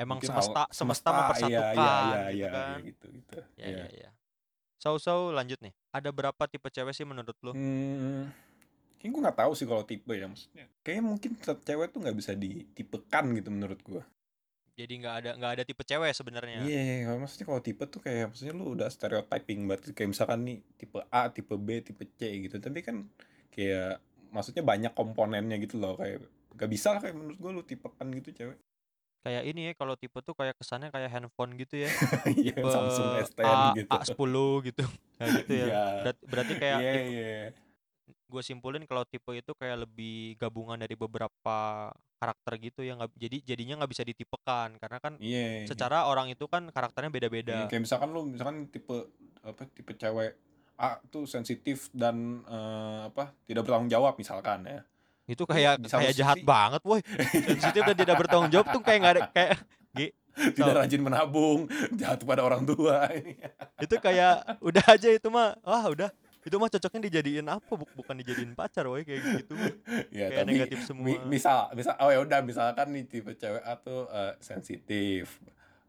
S1: Emang
S3: mungkin
S1: semesta
S3: al-
S1: semesta
S3: iya,
S1: mempersatukan
S3: iya, iya,
S1: gitu
S3: iya, iya,
S1: kan.
S3: gitu gitu.
S1: Ya,
S3: Iya.
S1: ya, ya. So, so lanjut nih. Ada berapa tipe cewek sih menurut lu?
S3: Hmm, kayaknya gue nggak tahu sih kalau tipe ya maksudnya. Kayaknya mungkin setiap cewek tuh nggak bisa ditipekan gitu menurut gua.
S1: Jadi nggak ada nggak ada tipe cewek sebenarnya.
S3: Iya, iya, kalau maksudnya kalau tipe tuh kayak maksudnya lu udah stereotyping banget gitu. kayak misalkan nih tipe A, tipe B, tipe C gitu. Tapi kan kayak maksudnya banyak komponennya gitu loh kayak gak bisa lah kayak menurut gue lu tipekan gitu cewek. (laughs)
S1: Kayak ini ya kalau tipe tuh kayak kesannya kayak handphone gitu ya.
S3: (laughs) Iya,
S1: Tipe
S3: Samsung S10
S1: A,
S3: gitu. (laughs)
S1: A10 gitu. Nah, gitu ya.
S3: Iya.
S1: Berat- berarti kayak
S3: Iya,
S1: tip-
S3: iya.
S1: gue simpulin kalau tipe itu kayak lebih gabungan dari beberapa karakter gitu yang nggak jadi jadinya nggak bisa ditipekan karena kan
S3: Iya.
S1: secara orang itu kan karakternya beda-beda
S3: Iya, kayak misalkan lu misalkan tipe apa tipe cewek A tuh sensitif dan eh, apa tidak bertanggung jawab misalkan ya.
S1: itu kayak
S3: di satu
S1: kayak jahat
S3: sisi-
S1: banget
S3: (laughs)
S1: woi
S3: Iya.
S1: sensitif dan tidak bertanggung jawab tuh kayak nggak ada kayak
S3: tidak rajin menabung, (laughs) jahat pada orang tua. (laughs) Iya,
S1: itu kayak udah aja itu mah wah udah itu mah cocoknya dijadiin apa buk- bukan dijadiin pacar woi kayak gitu woy.
S3: ya,
S1: kayak
S3: tapi
S1: negatif semua
S3: mi- misal misal oh ya udah misalkan nih tipe cewek A tuh eh, sensitif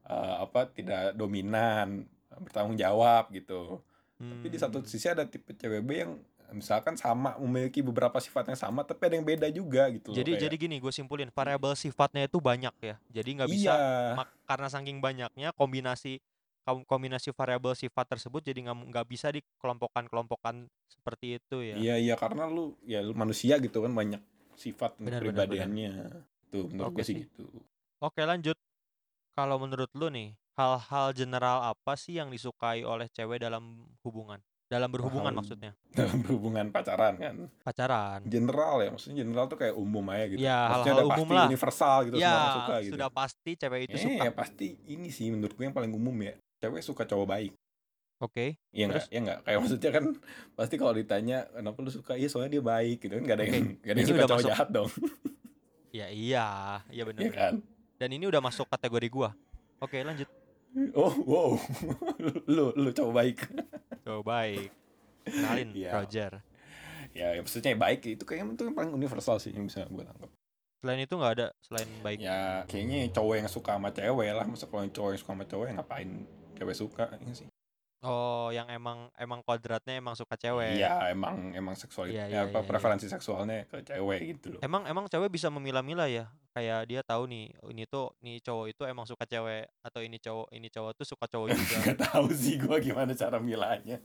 S3: eh, apa tidak dominan, bertanggung jawab gitu. Tapi di satu
S1: Hmm.
S3: sisi ada tipe cewek B yang misalkan sama memiliki beberapa sifat yang sama tapi ada yang beda juga gitu loh.
S1: jadi
S3: kayak.
S1: jadi gini gue simpulin variabel sifatnya itu banyak ya jadi nggak bisa
S3: Iya.
S1: mak- karena saking banyaknya kombinasi kom- kombinasi variabel sifat tersebut jadi nggak nggak bisa dikelompokkan-kelompokkan seperti itu ya
S3: Iya iya karena lu ya lu manusia gitu kan banyak sifat dan
S1: Benar, benar,
S3: kepribadiannya. Tuh menurut
S1: Oke
S3: gue sih
S1: sih.
S3: gitu.
S1: oke lanjut kalau menurut lu nih hal-hal general apa sih yang disukai oleh cewek dalam hubungan dalam berhubungan
S3: Hal-
S1: maksudnya
S3: Dalam berhubungan pacaran kan.
S1: pacaran
S3: General ya maksudnya general tuh kayak umum aja gitu.
S1: Ya,
S3: maksudnya
S1: hal-hal
S3: udah
S1: umum
S3: pasti
S1: lah.
S3: universal gitu semua orang
S1: ya
S3: suka gitu.
S1: sudah pasti cewek itu
S3: Eh,
S1: suka
S3: ya pasti ini sih menurut gue yang paling umum ya. Cewek suka cowok baik.
S1: oke
S3: Iya
S1: Terus?
S3: enggak? Iya enggak? Kayak maksudnya kan pasti kalau ditanya kenapa lu suka? Iya soalnya dia baik gitu kan. Gak ada yang gak ada yang
S1: Ini
S3: suka
S1: udah
S3: cowok
S1: masuk-
S3: jahat dong.
S1: ya iya iya benar
S3: Iya kan?
S1: dan ini udah masuk kategori gua oke lanjut
S3: Oh, wow. (laughs) lu lu cowok baik.
S1: oh baik kenalin
S3: Iya.
S1: Roger
S3: ya, ya maksudnya baik itu kayaknya itu yang paling universal sih yang bisa gue tangkap.
S1: selain itu nggak ada selain baik
S3: ya kayaknya cowok yang suka sama cewek lah masa kalau cowok yang suka sama cewek ngapain cewek suka ya sih
S1: Oh, yang emang emang kodratnya emang suka cewek.
S3: iya emang emang seksual
S1: Iya,
S3: ya,
S1: iya,
S3: apa
S1: iya,
S3: preferensi seksualnya ke cewek gitu loh
S1: Emang emang cewek bisa memilah-milah ya. Kayak dia tahu nih, oh, ini tuh nih cowok itu emang suka cewek atau ini cowok ini cowok tuh suka cowok juga.
S3: (laughs) nggak tahu sih gue gimana cara milahnya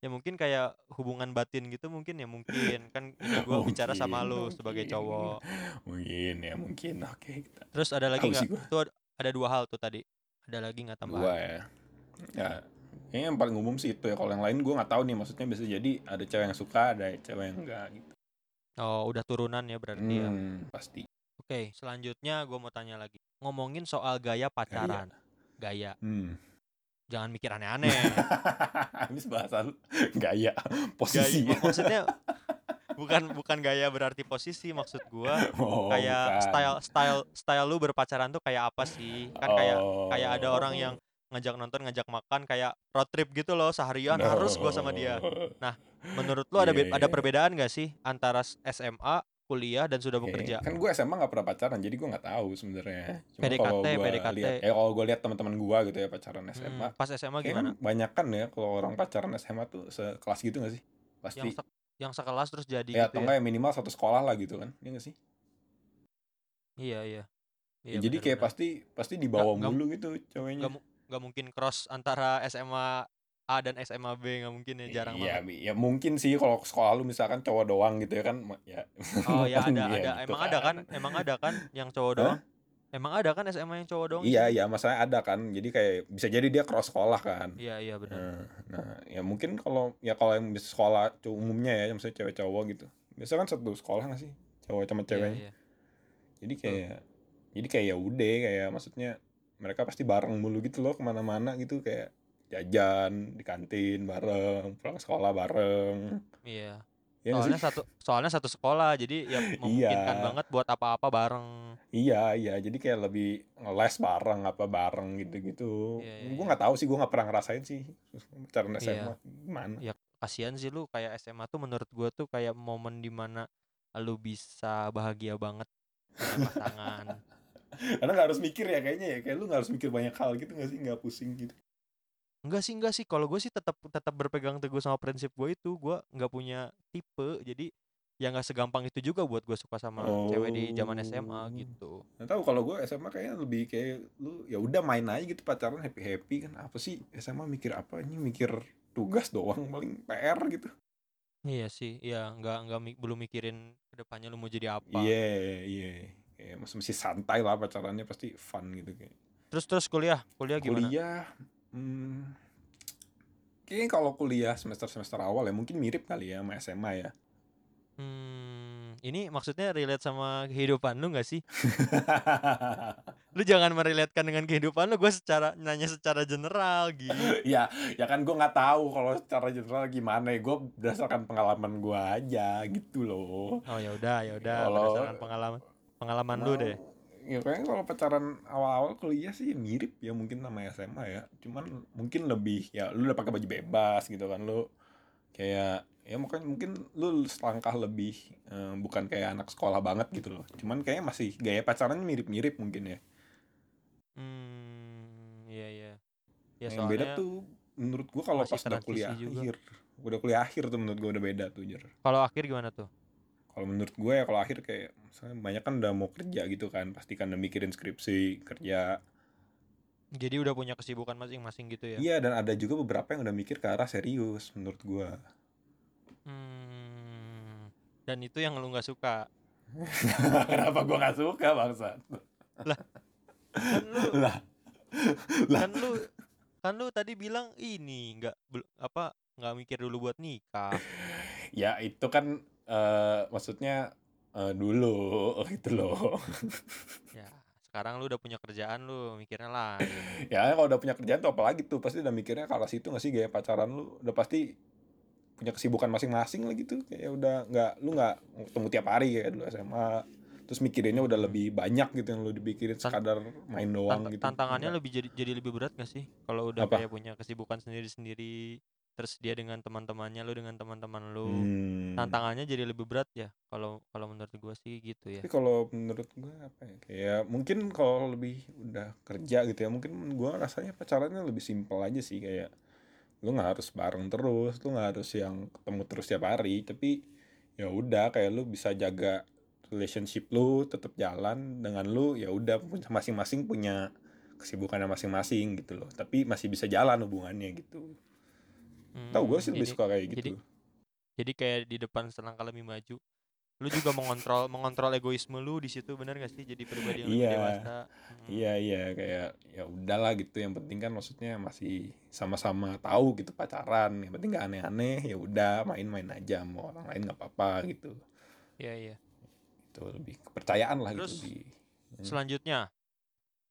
S1: ya mungkin kayak hubungan batin gitu mungkin ya mungkin kan ini gua bicara sama
S3: Mungkin,
S1: lu sebagai
S3: mungkin.
S1: cowok.
S3: mungkin ya mungkin oke kita
S1: Terus ada lagi
S3: Tahu sih
S1: nggak? Tuh ad- ada dua hal tuh tadi. Ada lagi nggak
S3: dua
S1: tambahan?
S3: ya ya kayaknya yang paling umum sih itu ya kalau yang lain gue nggak tahu nih maksudnya bisa jadi ada cewek yang suka ada cewek yang enggak gitu
S1: Oh, udah turunan ya berarti ya.
S3: hmm, pasti
S1: Oke, selanjutnya gua mau tanya lagi. Ngomongin soal gaya pacaran. Gaya.
S3: hmm. (laughs)
S1: Jangan mikir aneh-aneh.
S3: habis bahasan
S1: gaya
S3: gaya posisi
S1: mak- maksudnya bukan bukan gaya berarti posisi maksud gua
S3: Oh,
S1: kayak
S3: bukan.
S1: style style style lu berpacaran tuh kayak apa sih kan kayak kayak ada
S3: Oh.
S1: orang yang ngajak nonton ngajak makan kayak road trip gitu loh seharian
S3: No.
S1: harus gua sama dia menurut lu ada
S3: Oh, Iya,
S1: be- ada
S3: iya.
S1: perbedaan gak sih antara s- SMA kuliah dan sudah
S3: Oke,
S1: bekerja Hmm,
S3: Kan gue SMA gak pernah pacaran, jadi gue gak tahu sebenarnya. Cuma
S1: PDKT,
S3: kalau gue
S1: PDKT.
S3: lihat, ya kalau gue lihat teman-teman gue gitu ya pacaran SMA,
S1: Hmm, pas SMA gimana
S3: kayaknya banyak kan ya kalau orang pacaran SMA tuh sekelas gitu gak sih? Pasti.
S1: yang se- yang sekelas terus jadi
S3: ya
S1: gitu ya
S3: atau enggak ya minimal satu sekolah lah gitu kan, iya gak sih?
S1: iya iya
S3: Ya, jadi kayak pasti pasti
S1: Nggak-
S3: dibawa
S1: nggak-
S3: mulu gitu ceweknya.
S1: nggak mu- nggak mungkin cross antara SMA A dan SMA B nggak mungkin ya jarang
S3: (laughs)
S1: banget
S3: ya, mi- ya mungkin sih kalau sekolah lu misalkan cowok doang gitu ya kan ma- ya
S1: Oh ya ada ada
S3: (laughs) Iya, gitu
S1: emang ada kan emang ada kan yang cowok
S3: Hah?
S1: doang emang ada kan SMA yang cowok doang
S3: iya
S1: isinya?
S3: iya masalahnya ada kan jadi kayak bisa jadi dia cross sekolah kan
S1: iya iya benar
S3: Nah, nah, ya mungkin kalau ya kalau yang bisa sekolah cu- umumnya ya, misalnya cewek cowok gitu. Biasa kan satu sekolah nggak sih? Cowok sama
S1: iya,
S3: cewek.
S1: iya.
S3: Jadi kayak jadi kayak ya udah kayak maksudnya mereka pasti bareng mulu gitu loh kemana-mana gitu kayak jajan di kantin bareng pulang sekolah bareng
S1: Iya.
S3: ya nggak
S1: soalnya
S3: sih?
S1: satu soalnya satu sekolah jadi
S3: (laughs)
S1: ya memungkinkan
S3: Iya.
S1: banget buat apa-apa bareng
S3: iya iya jadi kayak lebih ngeles bareng apa bareng gitu gitu
S1: Iya, iya,
S3: gue
S1: iya.
S3: nggak tahu sih gue nggak pernah ngerasain sih pacaran
S1: Iya.
S3: SMA gimana
S1: kasihan sih lu kayak SMA tuh menurut gua tuh kayak momen dimana lu bisa bahagia banget punya pasangan
S3: karena nggak harus mikir ya kayaknya ya kayak lu nggak harus mikir banyak hal gitu nggak sih nggak pusing gitu
S1: enggak sih enggak sih kalau gue sih tetap tetap berpegang teguh sama prinsip gue itu gua nggak punya tipe jadi ya nggak segampang itu juga buat gue suka sama cewek di zaman SMA
S3: Oh.
S1: gitu
S3: Nggak tahu kalau gue SMA kayaknya lebih kayak lu ya udah main aja gitu pacaran happy happy kan apa sih SMA mikir apa ini mikir tugas doang paling PR gitu.
S1: Iya sih, ya nggak nggak mi- belum mikirin kedepannya lu mau jadi apa.
S3: Iya iya. Kayak masih masih santai lah pacarannya pasti fun gitu kayak.
S1: Terus terus kuliah, kuliah gimana?
S3: Kuliah hmm, Kayaknya kalau kuliah semester-semester awal ya mungkin mirip kali ya sama SMA ya.
S1: Hmm, ini maksudnya relate sama kehidupan lu gak sih?
S3: ya. (laughs)
S1: Lu jangan merelatekan dengan kehidupan lu. Gue secara nanya secara general gitu.
S3: ya, ya kan gue nggak tahu kalau secara general gimana ya. Gue berdasarkan pengalaman gue aja gitu loh.
S1: Oh ya udah, ya udah.
S3: Kalau-
S1: Berdasarkan pengalaman pengalaman lu
S3: Nah,
S1: deh.
S3: Ya kayaknya kalau pacaran awal-awal kuliah sih mirip ya mungkin sama SMA ya. Cuman mungkin lebih ya lu udah pakai baju bebas gitu kan lu kayak ya mungkin mungkin lu selangkah lebih eh, bukan kayak anak sekolah banget gitu loh. Cuman kayaknya masih gaya pacaran mirip-mirip mungkin ya.
S1: Hmm, iya iya. Ya
S3: Yang beda
S1: soalnya
S3: tuh menurut gua kalau
S1: masih
S3: pas udah kuliah
S1: transisi juga.
S3: akhir, udah kuliah akhir tuh menurut gua udah beda tuh jer.
S1: kalau akhir gimana tuh?
S3: Kalau menurut gue ya kalau akhir kayak misalnya banyak kan udah mau kerja gitu kan, pasti kan udah mikirin skripsi, kerja,
S1: Jadi udah punya kesibukan masing-masing gitu ya.
S3: Iya dan ada juga beberapa yang udah mikir ke arah serius menurut gua.
S1: Hmm. Dan itu yang lu nggak suka.
S3: (laughs) Kenapa gua nggak suka bangsa?
S1: Kan (laughs) lu
S3: Lah, lah.
S1: kan lu kan lu tadi bilang ini nggak bel- apa nggak mikir dulu buat nikah
S3: Ya itu kan eh, maksudnya eh, dulu (laughs) gitu loh.
S1: ya sekarang lu udah punya kerjaan lu mikirnya lah
S3: ya kalau udah punya kerjaan tuh apalagi tuh pasti udah mikirnya ke arah situ nggak sih gaya pacaran lu udah pasti punya kesibukan masing-masing lah gitu kayak udah nggak lu nggak ketemu tiap hari kayak dulu SMA terus mikirinnya udah lebih banyak gitu yang lu dipikirin
S1: Tan-
S3: sekadar main doang gitu
S1: tantangannya lebih jadi jadi lebih berat gak sih kalau udah
S3: Apa?
S1: kayak punya kesibukan sendiri-sendiri terus dia dengan teman-temannya lu dengan teman-teman lu
S3: Hmm.
S1: tantangannya jadi lebih berat ya kalau kalau menurut gua sih gitu ya
S3: Tapi kalau menurut gue apa ya? Kayak mungkin kalau lebih udah kerja gitu ya, mungkin gue rasanya pacarannya lebih simpel aja sih kayak lu nggak harus bareng terus, lu nggak harus yang ketemu terus tiap hari, tapi ya udah kayak lu bisa jaga relationship lu tetap jalan dengan lu ya udah punya- masing-masing punya kesibukannya masing-masing gitu loh, tapi masih bisa jalan hubungannya gitu. Tahu gue sih
S1: Hmm,
S3: lebih
S1: jadi-
S3: suka kayak
S1: jadi-
S3: gitu.
S1: jadi kayak di depan selangkah lebih maju lu juga mengontrol mengontrol egoisme lu di situ bener gak sih jadi pribadi yang lebih
S3: Iya.
S1: dewasa Hmm.
S3: Iya iya kayak ya udahlah gitu yang penting kan maksudnya masih sama-sama tahu gitu pacaran yang penting gak aneh-aneh ya udah main-main aja mau orang lain nggak apa-apa gitu
S1: iya iya
S3: itu lebih kepercayaan lah
S1: Terus,
S3: gitu lebih Hmm.
S1: Selanjutnya,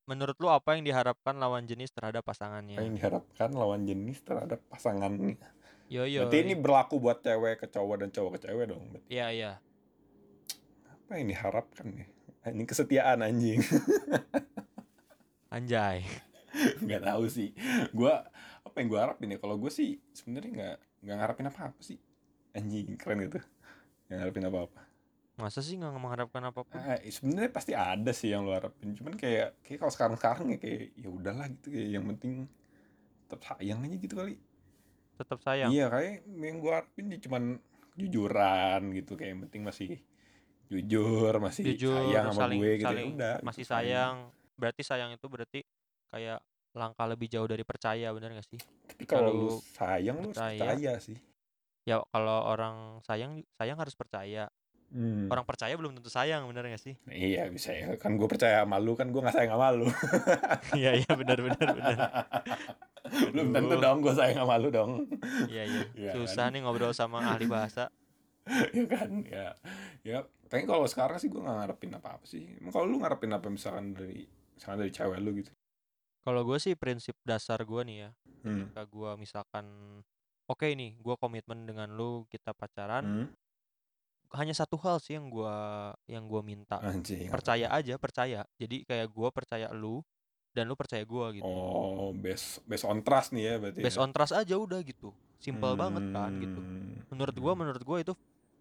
S1: menurut lu apa yang diharapkan lawan jenis terhadap
S3: apa yang
S1: pasangannya?
S3: diharapkan lawan jenis terhadap pasangannya
S1: Yo yo.
S3: berarti ini berlaku buat cewek ke cowok dan cowok ke cewek dong Berarti
S1: Iya iya.
S3: apa yang diharapkan ya ini kesetiaan anjing (laughs)
S1: Anjay.
S3: nggak tahu sih gua apa yang gua harapin ya kalau gue sih sebenarnya nggak nggak ngarapin apa-apa sih anjing keren gitu nggak ngarapin apa-apa
S1: Masa sih nggak mengharapkan apapun?
S3: Ah, sebenarnya pasti ada sih yang lu harapin cuman kayak kayak kalau sekarang sekarang ya kayak ya udahlah gitu kayak yang penting tetap sayang aja gitu kali
S1: Tetap sayang.
S3: iya kayak yang gua harapin ya cuman jujuran gitu kayak yang penting masih jujur masih
S1: Jujur,
S3: sayang sama
S1: saling-
S3: gue gitu Ya
S1: saling-
S3: udah
S1: Masih
S3: gitu, sayang.
S1: sayang. Berarti sayang itu berarti kayak langkah lebih jauh dari percaya, bener gak sih?
S3: tapi kalau lu
S1: Kalau
S3: sayang lu harus
S1: percaya.
S3: percaya sih
S1: Ya kalau orang sayang sayang harus percaya.
S3: Hmm.
S1: Orang percaya belum tentu sayang, bener gak sih?
S3: Nah, iya bisa ya kan gue percaya sama lu kan gue nggak sayang sama lu
S1: Iya iya benar benar benar.
S3: (laughs) belum tentu
S1: Aduh.
S3: dong gue sayang sama lu dong
S1: Iya iya.
S3: Iya
S1: Susah
S3: kan?
S1: nih ngobrol sama ahli bahasa.
S3: (laughs) ya kan ya ya pengen kalau sekarang sih gue nggak ngarepin apa apa sih emang kalau lu ngarepin apa misalkan dari misalkan dari cewek lu gitu
S1: Kalau gue sih prinsip dasar gue nih ya,
S3: hmm.
S1: ketika gue misalkan oke nih gue komitmen dengan lu kita pacaran
S3: Hmm.
S1: hanya satu hal sih yang gua yang gua minta
S3: anjing
S1: percaya aja percaya jadi kayak gua percaya lu dan lu percaya gua gitu
S3: oh based based on trust nih ya berarti
S1: based
S3: ya.
S1: on trust aja udah gitu simple banget kan gitu
S3: Hmm.
S1: menurut gua menurut gua itu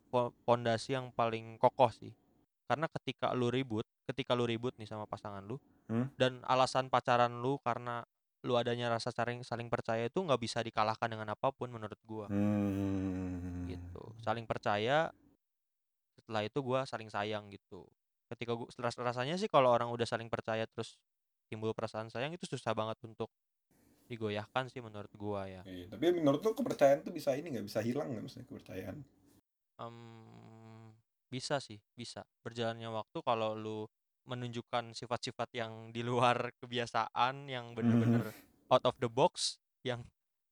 S1: fo- fondasi yang paling kokoh sih karena ketika lu ribut ketika lu ribut nih sama pasangan lu
S3: Hmm?
S1: dan alasan pacaran lu karena lu adanya rasa saling saling percaya itu nggak bisa dikalahkan dengan apapun menurut gua
S3: Hmm.
S1: gitu saling percaya setelah itu gua saling sayang gitu ketika gua ras- rasanya sih kalau orang udah saling percaya terus timbul perasaan sayang itu susah banget untuk digoyahkan sih menurut gua ya
S3: Iya, tapi menurut lu kepercayaan tuh bisa ini nggak bisa hilang nggak maksudnya kepercayaan
S1: Em, Mmm, bisa sih bisa berjalannya waktu kalau lu menunjukkan (laughs) sifat-sifat yang di luar kebiasaan yang bener-bener out of the box yang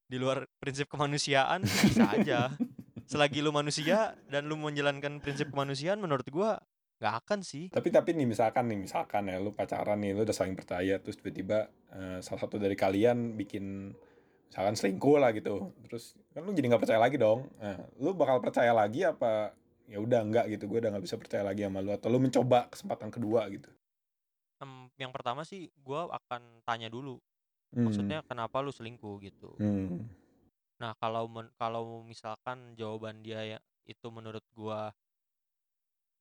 S1: di luar prinsip kemanusiaan bisa aja selagi lu manusia dan lu menjalankan prinsip kemanusiaan menurut gua nggak akan sih
S3: Tapi tapi nih misalkan nih misalkan ya lu pacaran nih lu udah saling percaya terus tiba-tiba eh, salah satu dari kalian bikin misalkan selingkuh lah gitu terus kan lu jadi nggak percaya lagi dong. Nah, lu bakal percaya lagi apa ya udah enggak gitu gue udah nggak bisa percaya lagi sama lu atau lu mencoba kesempatan kedua gitu.
S1: Em, yang pertama sih gua akan tanya dulu
S3: Hmm.
S1: maksudnya kenapa lu selingkuh gitu
S3: Hmm.
S1: Nah, kalau men- kalau misalkan jawaban dia ya itu menurut gua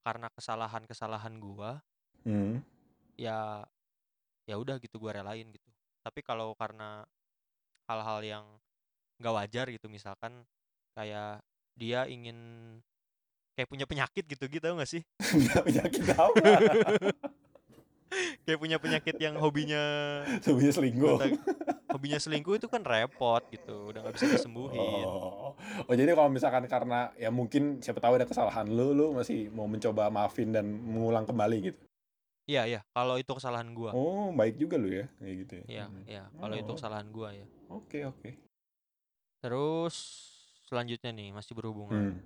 S1: karena kesalahan-kesalahan gua,
S3: Hmm.
S1: ya ya udah gitu gua relain gitu. Tapi kalau karena hal-hal yang nggak wajar gitu misalkan kayak dia ingin kayak punya penyakit gitu gitu nggak sih
S3: Penyakit (laughs) apa?
S1: kayak punya penyakit yang hobinya
S3: (laughs) Sebenarnya selingkuh.
S1: tentang- hobinya selingkuh itu kan repot gitu udah nggak bisa disembuhin
S3: Oh. oh jadi kalau misalkan karena ya mungkin siapa tahu ada kesalahan lu, lu masih mau mencoba maafin dan mengulang kembali gitu.
S1: iya iya kalau itu kesalahan gua
S3: Oh baik juga lu ya kayak gitu ya.
S1: Iya,
S3: Hmm.
S1: iya. Kalau itu
S3: Oh.
S1: kesalahan gua ya.
S3: Oke oke.
S1: Terus selanjutnya nih masih berhubungan.
S3: Hmm.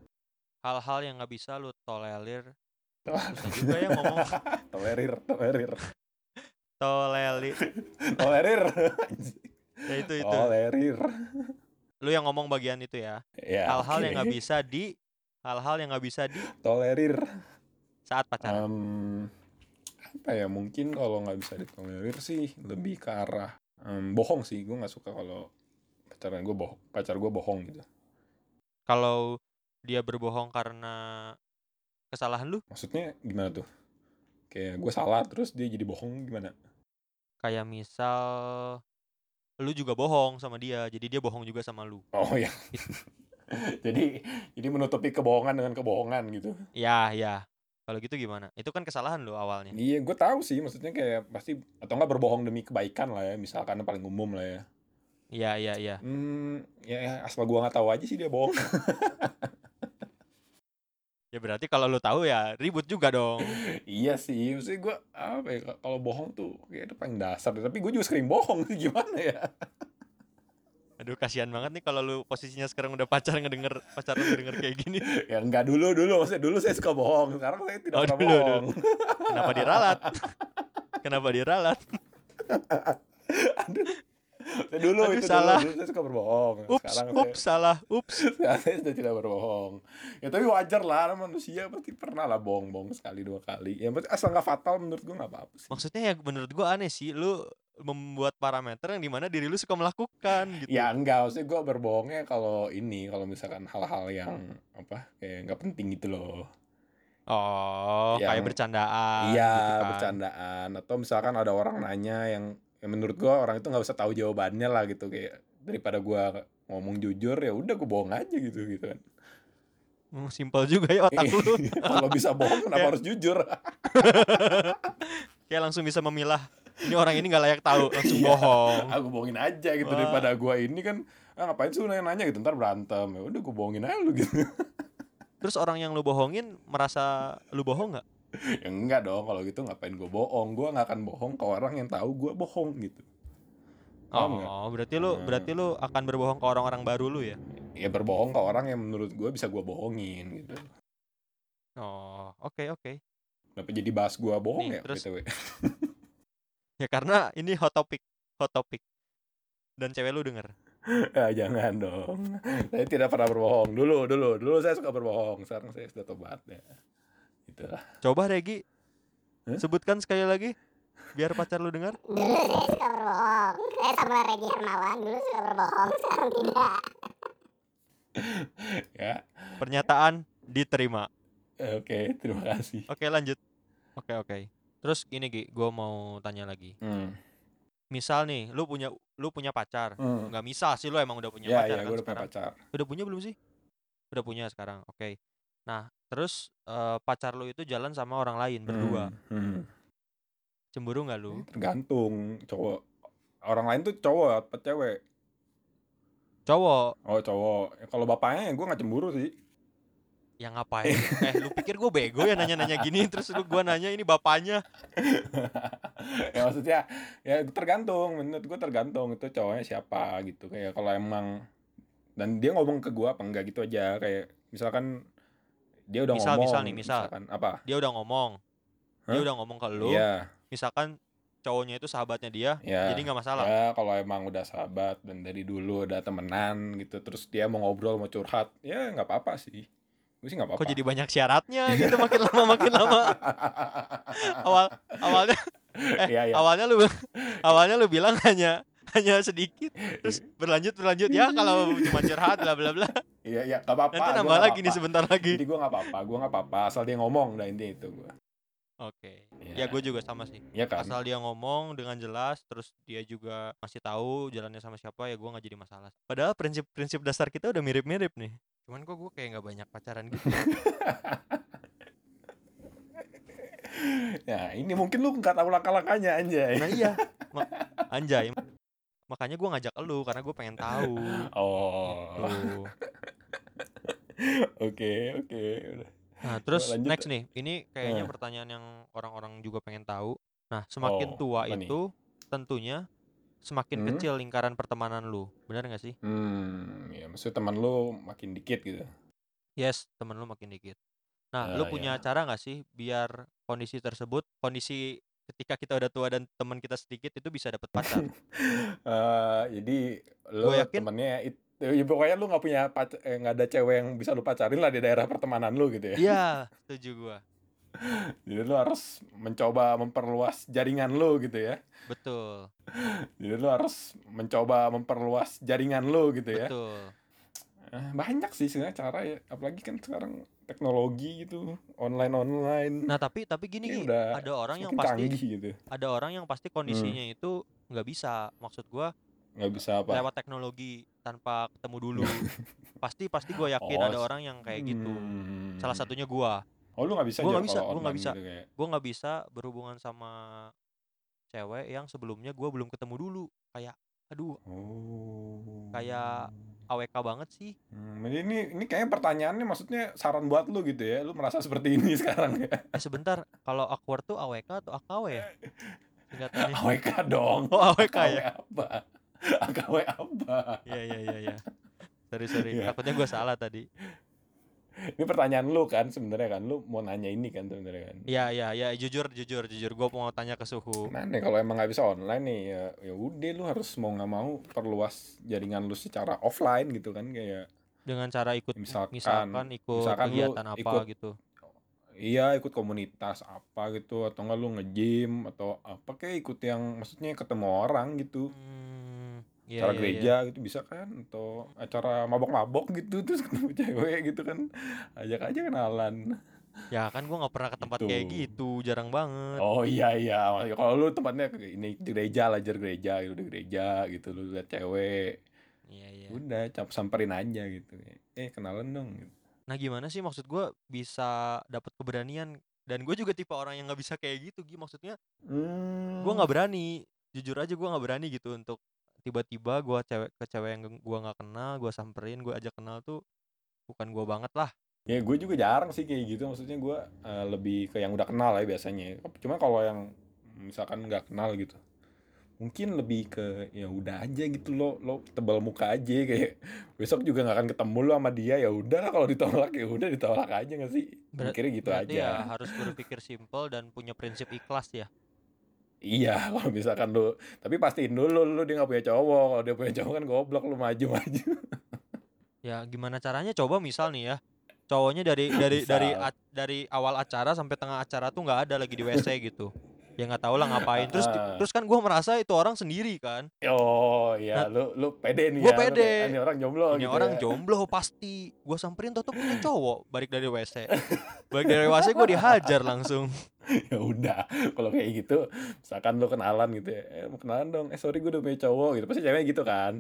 S1: Hal-hal yang nggak bisa lu tolerir, Susah juga ya
S3: (laughs)
S1: ngomong.
S3: tolerir, tolerir,
S1: tolerir.
S3: tolerir,
S1: ya itu itu.
S3: tolerir.
S1: Lu yang ngomong bagian itu ya.
S3: Ya,
S1: Hal-hal yang
S3: oke.
S1: nggak bisa di hal-hal yang nggak bisa di
S3: tolerir.
S1: saat
S3: Ah.
S1: pacaran.
S3: Em, apa ya mungkin kalau nggak bisa ditolerir sih lebih ke arah em, bohong sih. Gue nggak suka kalau pacaran gue bohong, pacar gue bohong gitu.
S1: Kalau dia berbohong karena kesalahan lu,
S3: Maksudnya gimana tuh? Kayak gue salah terus dia jadi bohong gimana?
S1: kayak misal lu juga bohong sama dia, jadi dia bohong juga sama lu.
S3: Oh ya. (laughs) jadi jadi menutupi kebohongan dengan kebohongan gitu.
S1: Ya, ya. Kalau gitu gimana? Itu kan kesalahan lu awalnya.
S3: Iya, gue tahu sih. Maksudnya kayak pasti atau nggak berbohong demi kebaikan lah ya. Misalkan paling umum lah ya.
S1: Iya, iya, iya.
S3: Hmm, ya asal gue nggak tahu aja sih dia bohong.
S1: (laughs) Ya berarti kalau lu tahu ya ribut juga dong.
S3: iya sih. Maksudnya gue apa ya? Kalau bohong tuh kayak itu paling dasar. Tapi gue juga sering bohong sih (laughs) gimana ya?
S1: Aduh kasihan banget nih kalau lu posisinya sekarang udah pacar ngedenger pacar lu ngedenger kayak gini.
S3: Ya nggak dulu dulu. Maksudnya dulu saya suka bohong. Sekarang saya tidak
S1: Oh,
S3: pernah
S1: dulu,
S3: bohong. (laughs)
S1: Kenapa diralat? Kenapa diralat?
S3: Saya dulu
S1: Aduh,
S3: itu
S1: salah.
S3: Dulu, dulu saya suka berbohong.
S1: Ups,
S3: Nah, Sekarang saya-
S1: ups, salah, ups.
S3: Sekarang saya (laughs) sudah tidak berbohong. Ya tapi wajar lah manusia pasti pernah lah bohong-bohong sekali dua kali. Ya pasti asal nggak fatal menurut gue nggak apa-apa sih.
S1: Maksudnya ya menurut gua aneh sih lu membuat parameter yang dimana diri lu suka melakukan gitu.
S3: Ya enggak, maksudnya gue berbohongnya kalau ini kalau misalkan hal-hal yang
S1: Hmm.
S3: apa kayak nggak penting gitu loh.
S1: Oh, kayak
S3: Yang-
S1: bercandaan.
S3: Ya. Iya
S1: gitu kan. Hmm.
S3: bercandaan atau misalkan ada orang nanya yang, yang menurut gue orang itu nggak usah tahu jawabannya lah gitu kayak daripada gue ngomong jujur ya udah gue bohong aja gitu gitu kan.
S1: Hmm, Simpel juga ya
S3: Iya.
S1: otak lu.
S3: (laughs) kalau bisa bohong
S1: Ya.
S3: kenapa harus
S1: (laughs)
S3: jujur?
S1: Kayak langsung bisa memilah. Ini orang ini nggak layak
S3: (laughs)
S1: tahu, langsung
S3: Iya.
S1: bohong.
S3: aku bohongin aja gitu
S1: Wah.
S3: daripada gua ini kan ah, ngapain sih lu nanya gitu ntar berantem ya udah gua bohongin aja lu gitu
S1: Terus orang yang lu bohongin merasa lu bohong nggak?
S3: ya enggak dong kalau gitu ngapain gua bohong gua nggak akan bohong ke orang yang tahu gua bohong gitu Paham nggak? Hmm.
S1: Oh, berarti lu berarti lu akan berbohong ke orang-orang baru lu ya?
S3: ya berbohong ke orang yang menurut gua bisa gua bohongin gitu
S1: Oh, oke oke.
S3: kenapa jadi bahas gua bohong
S1: Nih,
S3: ya
S1: terus-
S3: (laughs) BTW?
S1: Ya karena ini hot topic, hot topic. Dan cewek lu denger.
S3: ah, jangan dong saya tidak pernah berbohong dulu dulu dulu saya suka berbohong sekarang saya sudah tobat ya gitu lah
S1: Coba Regi,
S3: Hah?
S1: sebutkan sekali lagi biar pacar lu denger.
S2: Dulu saya suka berbohong. Saya Eh, sama Regi Hermawan dulu suka berbohong, sekarang tidak.
S3: ya
S1: Pernyataan diterima.
S3: eh, oke terima kasih
S1: Oke, lanjut. Oke oke. Terus gini Gi, gua mau tanya lagi.
S3: hmm.
S1: Misal nih, lu punya lu punya pacar.
S3: Hmm.
S1: Nggak misal sih lu emang udah punya
S3: ya
S1: pacar
S3: ya
S1: kan
S3: gua udah punya
S1: sekarang.
S3: pacar
S1: Udah punya belum sih? Udah punya sekarang. Oke. Nah, terus eh, pacar lu itu jalan sama orang lain berdua.
S3: Hmm, hmm.
S1: Cemburu nggak lu?
S3: tergantung cowok orang lain tuh cowok apa cewek
S1: Cowok
S3: oh cowok Ya, kalau bapaknya ya gue nggak cemburu sih
S1: yang ngapain eh lu pikir gue bego ya nanya-nanya gini terus lu gue nanya ini bapaknya
S3: ya maksudnya ya tergantung menurut gue tergantung itu cowoknya siapa gitu kayak kalau emang dan dia ngomong ke gua apa enggak gitu aja kayak misalkan dia udah
S1: Misal-
S3: ngomong
S1: misal nih, misal.
S3: misalkan apa
S1: dia udah ngomong dia
S3: Hah?
S1: udah ngomong ke lu
S3: iya
S1: misalkan cowoknya itu sahabatnya dia
S3: iya
S1: jadi nggak masalah
S3: Ya, kalau emang udah sahabat dan dari dulu udah temenan gitu terus dia mau ngobrol mau curhat ya nggak apa-apa sih gue sih nggak apa-apa
S1: kok
S3: (laughs)
S1: jadi banyak syaratnya gitu makin lama makin lama awal awalnya eh,
S3: Iya, iya.
S1: awalnya lu awalnya lu bilang hanya hanya sedikit terus berlanjut berlanjut ya kalau cuma curhat bla bla bla
S3: iya iya nggak apa-apa
S1: nanti
S3: gua
S1: nambah
S3: nggak
S1: lagi nih
S3: apa-apa.
S1: sebentar lagi
S3: jadi gue nggak apa-apa gue nggak apa-apa asal dia ngomong dah intinya itu gue
S1: oke ya
S3: Iya.
S1: gue juga sama sih
S3: ya kan
S1: asal dia ngomong dengan jelas terus dia juga masih tahu jalannya sama siapa ya gue nggak jadi masalah padahal prinsip-prinsip dasar kita udah mirip-mirip nih cuman kok gue kayak nggak banyak pacaran gitu
S3: Nah ini mungkin lu nggak tahu langkah-langkahnya anjay.
S1: nah iya Ma- anjay makanya gue ngajak elu karena gue pengen tahu Gitu. Nah,
S3: Oh, oke
S1: Tuh.
S3: oke. Udah.
S1: Nah, terus
S3: lanjut,
S1: next nih, ini kayaknya pertanyaan yang orang-orang juga pengen tahu. Nah, semakin
S3: Oh,
S1: tua
S3: apa nih?
S1: itu tentunya semakin
S3: Hmm?
S1: kecil lingkaran pertemanan lu. Benar nggak sih?
S3: Hmm, ya maksud teman lu makin dikit gitu.
S1: Yes, temen lu makin dikit. Nah,
S3: Ah,
S1: lu punya cara nggak sih biar kondisi tersebut, kondisi ketika kita udah tua dan teman kita sedikit itu bisa
S3: (laughs)
S1: dapet pacar?
S3: Eh, jadi lu
S1: Gua yakin-
S3: temennya itu ya pokoknya lu nggak punya pac- eh, nggak ada cewek yang bisa lu pacarin lah di daerah pertemanan lu gitu ya.
S1: Iya, setuju gua.
S3: Jadi lu harus mencoba memperluas jaringan lu gitu ya.
S1: Betul,
S3: Jadi lu harus mencoba memperluas jaringan lu gitu ya.
S1: betul.
S3: Eh, Banyak sih sebenarnya cara ya, apalagi kan sekarang teknologi gitu, online-online.
S1: Nah, tapi tapi gini,
S3: Ini
S1: Gi,
S3: udah
S1: ada orang yang
S3: Semakin
S1: pasti
S3: canggih gitu.
S1: ada orang yang pasti kondisinya itu nggak bisa. Maksud gua
S3: nggak bisa apa
S1: lewat teknologi tanpa ketemu
S3: (laughs)
S1: dulu. pasti pasti gue yakin
S3: Oh,
S1: ada
S3: s-
S1: orang yang kayak gitu.
S3: Hmm.
S1: Salah satunya gua.
S3: oh lu nggak bisa
S1: Gua
S3: aja
S1: nggak bisa,
S3: kalau
S1: gua nggak
S3: online
S1: bisa.
S3: gitu kayak.
S1: Gua nggak bisa berhubungan sama cewek yang sebelumnya gua belum ketemu dulu. Kayak aduh
S3: oh
S1: Kayak- awk banget sih.
S3: Hmm, jadi ini ini kayaknya pertanyaannya maksudnya saran buat lu gitu ya lu merasa seperti ini (laughs) sekarang ya
S1: Eh sebentar, kalau awkward tuh awk atau akw ya? Singkatannya.
S3: AWK dong
S1: (laughs) Oh, AWK ya.
S3: apa AKW apa
S1: Iya iya iya iya. Sorry sorry,
S3: Iya.
S1: takutnya gua salah tadi.
S3: ini pertanyaan lu kan sebenarnya kan lu mau nanya ini kan sebenarnya kan
S1: Iya iya iya, jujur jujur jujur gua mau tanya ke suhu.
S3: Nah nih kalau emang nggak bisa online nih ya ya udah lu harus mau nggak mau perluas jaringan lu secara offline gitu kan kayak
S1: Dengan cara ikut
S3: Misalkan-
S1: misalkan ikut
S3: misalkan lu
S1: kegiatan apa
S3: ikut
S1: gitu.
S3: Iya ikut komunitas apa gitu atau enggak lu nge-gym atau apa kayak ikut yang maksudnya ketemu orang gitu
S1: Hmm, iya,
S3: acara
S1: iya, iya.
S3: gereja gitu bisa kan atau acara mabok-mabok gitu (laughs) terus ketemu cewek gitu kan ajak aja kenalan
S1: Ya kan gua nggak pernah ke tempat kayak
S3: Gitu.
S1: gitu, jarang banget.
S3: oh iya iya Maksudnya kalau lu tempatnya ke- ini di gereja lah jar gereja gitu di gereja gitu lu lihat cewek
S1: Iya iya.
S3: udah cap samperin aja gitu eh kenalan dong gitu.
S1: Nah gimana sih maksud gua bisa dapat keberanian dan gue juga tipe orang yang nggak bisa kayak gitu, Gi. Maksudnya
S3: Hmm.
S1: gua nggak berani, jujur aja gua nggak berani gitu untuk tiba-tiba gua cewek ke cewek yang gua nggak kenal, gua samperin, gua ajak kenal tuh bukan gua banget lah.
S3: Ya gue juga jarang sih kayak gitu maksudnya gue eh, lebih ke yang udah kenal ya biasanya. Cuma kalau yang misalkan nggak kenal gitu, mungkin lebih ke ya udah aja gitu lo lo tebal muka aja kayak (laughs) besok juga nggak akan ketemu lo sama dia ya udah lah kalau ditolak ya udah ditolak aja nggak sih?
S1: Berat-
S3: Mikirnya gitu
S1: Berarti
S3: aja.
S1: ya harus berpikir simpel dan punya prinsip ikhlas ya.
S3: Iya (laughs) kalau misalkan lo tapi pastiin dulu lo dia nggak punya cowok kalau dia punya cowok kan goblok lo maju maju.
S1: Ya gimana caranya? Coba misal nih ya, cowoknya dari dari dari
S3: Misal.
S1: a- dari awal acara sampai tengah acara tuh nggak ada lagi di WC gitu. Ya nggak tahu lah ngapain. Terus di-
S3: Ah.
S1: terus kan gua merasa itu orang sendiri kan.
S3: (laughs) Oh iya lo lo pede nih
S1: Gua
S3: ya. lo
S1: pede.
S3: kayak, "Ah, Ini orang jomblo.
S1: Ini
S3: gitu
S1: orang
S3: ya."
S1: jomblo pasti. Gua samperin tuh punya
S3: (laughs)
S1: cowok balik dari WC. Balik dari WC gua dihajar langsung.
S3: (laughs) ya udah kalau kayak gitu misalkan lo kenalan gitu ya eh, mau kenalan dong eh sorry gue udah punya cowok gitu pasti ceweknya gitu kan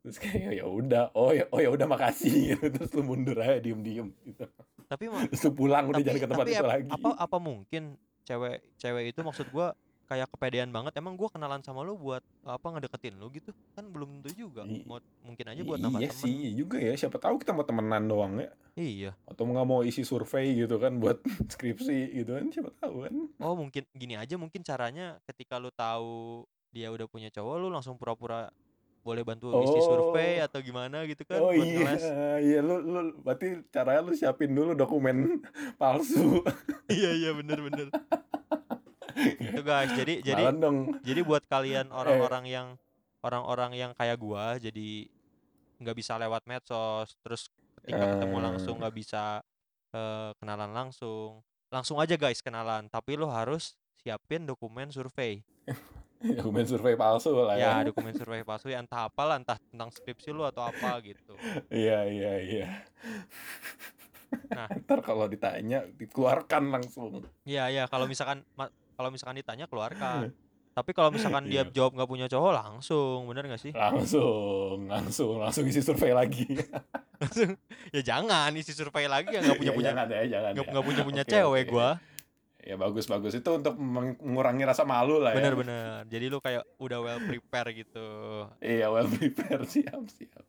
S3: terus kayak ya udah oh ya oh ya udah makasih (laughs) gitu. terus lu mundur aja diem diem gitu
S1: Tapi ma-
S3: terus lu pulang udah
S1: tapi,
S3: jangan ke tempat
S1: tapi
S3: itu
S1: ap-
S3: lagi
S1: apa apa mungkin cewek cewek itu maksud gua kayak kepedean banget emang gua kenalan sama lu buat apa ngedeketin lu gitu kan belum tentu juga
S3: I-
S1: Mau- mungkin aja
S3: I-
S1: buat nama
S3: iya
S1: temen.
S3: sih iya juga ya siapa tahu kita mau temenan doang ya
S1: iya
S3: atau nggak mau isi survei gitu kan buat (laughs) skripsi gitu kan siapa tahu kan
S1: oh mungkin gini aja mungkin caranya ketika lu tahu dia udah punya cowok lu langsung pura-pura boleh bantu isi survei
S3: Oh.
S1: atau gimana gitu kan buat
S3: oh iya
S1: ngeles.
S3: iya lu lu berarti caranya lu siapin dulu dokumen (laughs) palsu
S1: iya iya bener
S3: (laughs)
S1: bener itu guys jadi jadi
S3: Kenalan dong
S1: jadi buat
S3: Eh.
S1: kalian orang-orang yang orang-orang yang kayak gua jadi nggak bisa lewat medsos terus ketika ketemu
S3: Eh.
S1: langsung nggak bisa eh, kenalan langsung langsung aja guys kenalan tapi lo harus siapin dokumen survei
S3: dokumen survei palsu lah ya
S1: ya dokumen survei palsu ya entah apalah entah tentang skripsi lu atau apa gitu
S3: iya iya iya
S1: Nah.
S3: (laughs) ntar kalau ditanya dikeluarkan langsung
S1: Iya ya kalau misalkan ma- kalau misalkan ditanya
S3: (laughs)
S1: keluarkan tapi kalau misalkan dia
S3: Iya.
S1: jawab nggak punya cowok langsung bener nggak sih
S3: langsung langsung langsung isi survei lagi
S1: langsung ya jangan isi survei lagi ya nggak
S3: (laughs)
S1: punya
S3: Ya,
S1: punya
S3: jangan ya jangan
S1: nggak
S3: ya.
S1: nggak punya punya
S3: Oke,
S1: cewek
S3: oke.
S1: gua
S3: ya bagus bagus itu untuk meng- mengurangi rasa malu lah ya
S1: bener-bener jadi lu kayak udah well prepare gitu
S3: Iya well (laughs) prepared siap siap.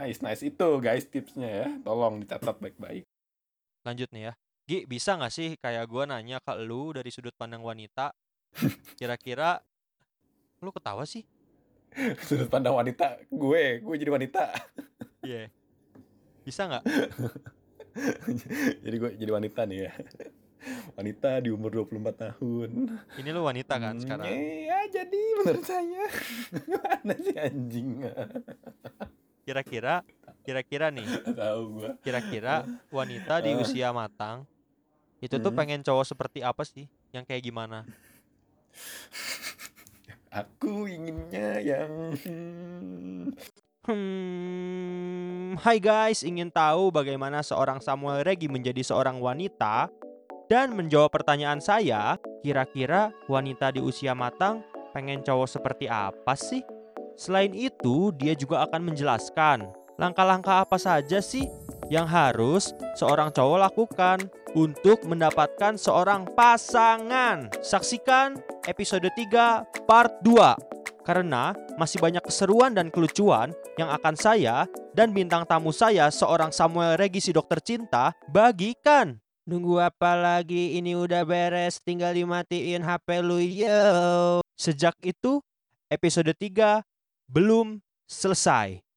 S3: Nice nice itu guys tipsnya ya. Tolong dicatat baik-baik. (laughs)
S1: lanjut nih ya Gi bisa nggak sih kayak gua nanya ke lu dari sudut pandang wanita kira-kira lu ketawa sih
S3: Sudut pandang wanita gue gue jadi wanita. (laughs)
S1: iya bisa nggak
S3: jadi gue jadi wanita nih ya. (laughs) Wanita di umur 24 tahun.
S1: ini lu wanita kan
S3: Hmm,
S1: sekarang
S3: Iya jadi menurut saya (laughs) mana sih anjing
S1: kira-kira kira-kira nih
S3: Nggak tahu gue.
S1: kira-kira wanita di
S3: Ah.
S1: usia matang itu tuh
S3: Hmm.
S1: pengen cowok seperti apa sih yang kayak gimana
S3: Aku inginnya yang
S1: Hmm, hai guys, ingin tahu bagaimana seorang Samuel Regi menjadi seorang wanita dan menjawab pertanyaan saya, kira-kira wanita di usia matang pengen cowok seperti apa sih? Selain itu, dia juga akan menjelaskan langkah-langkah apa saja sih yang harus seorang cowok lakukan untuk mendapatkan seorang pasangan. Saksikan episode 3 part 2 karena masih banyak keseruan dan kelucuan yang akan saya dan bintang tamu saya seorang Samuel Regi si dokter cinta bagikan. Nunggu apa lagi? Ini udah beres, tinggal dimatiin HP lu. Yo. Sejak itu episode 3 belum selesai.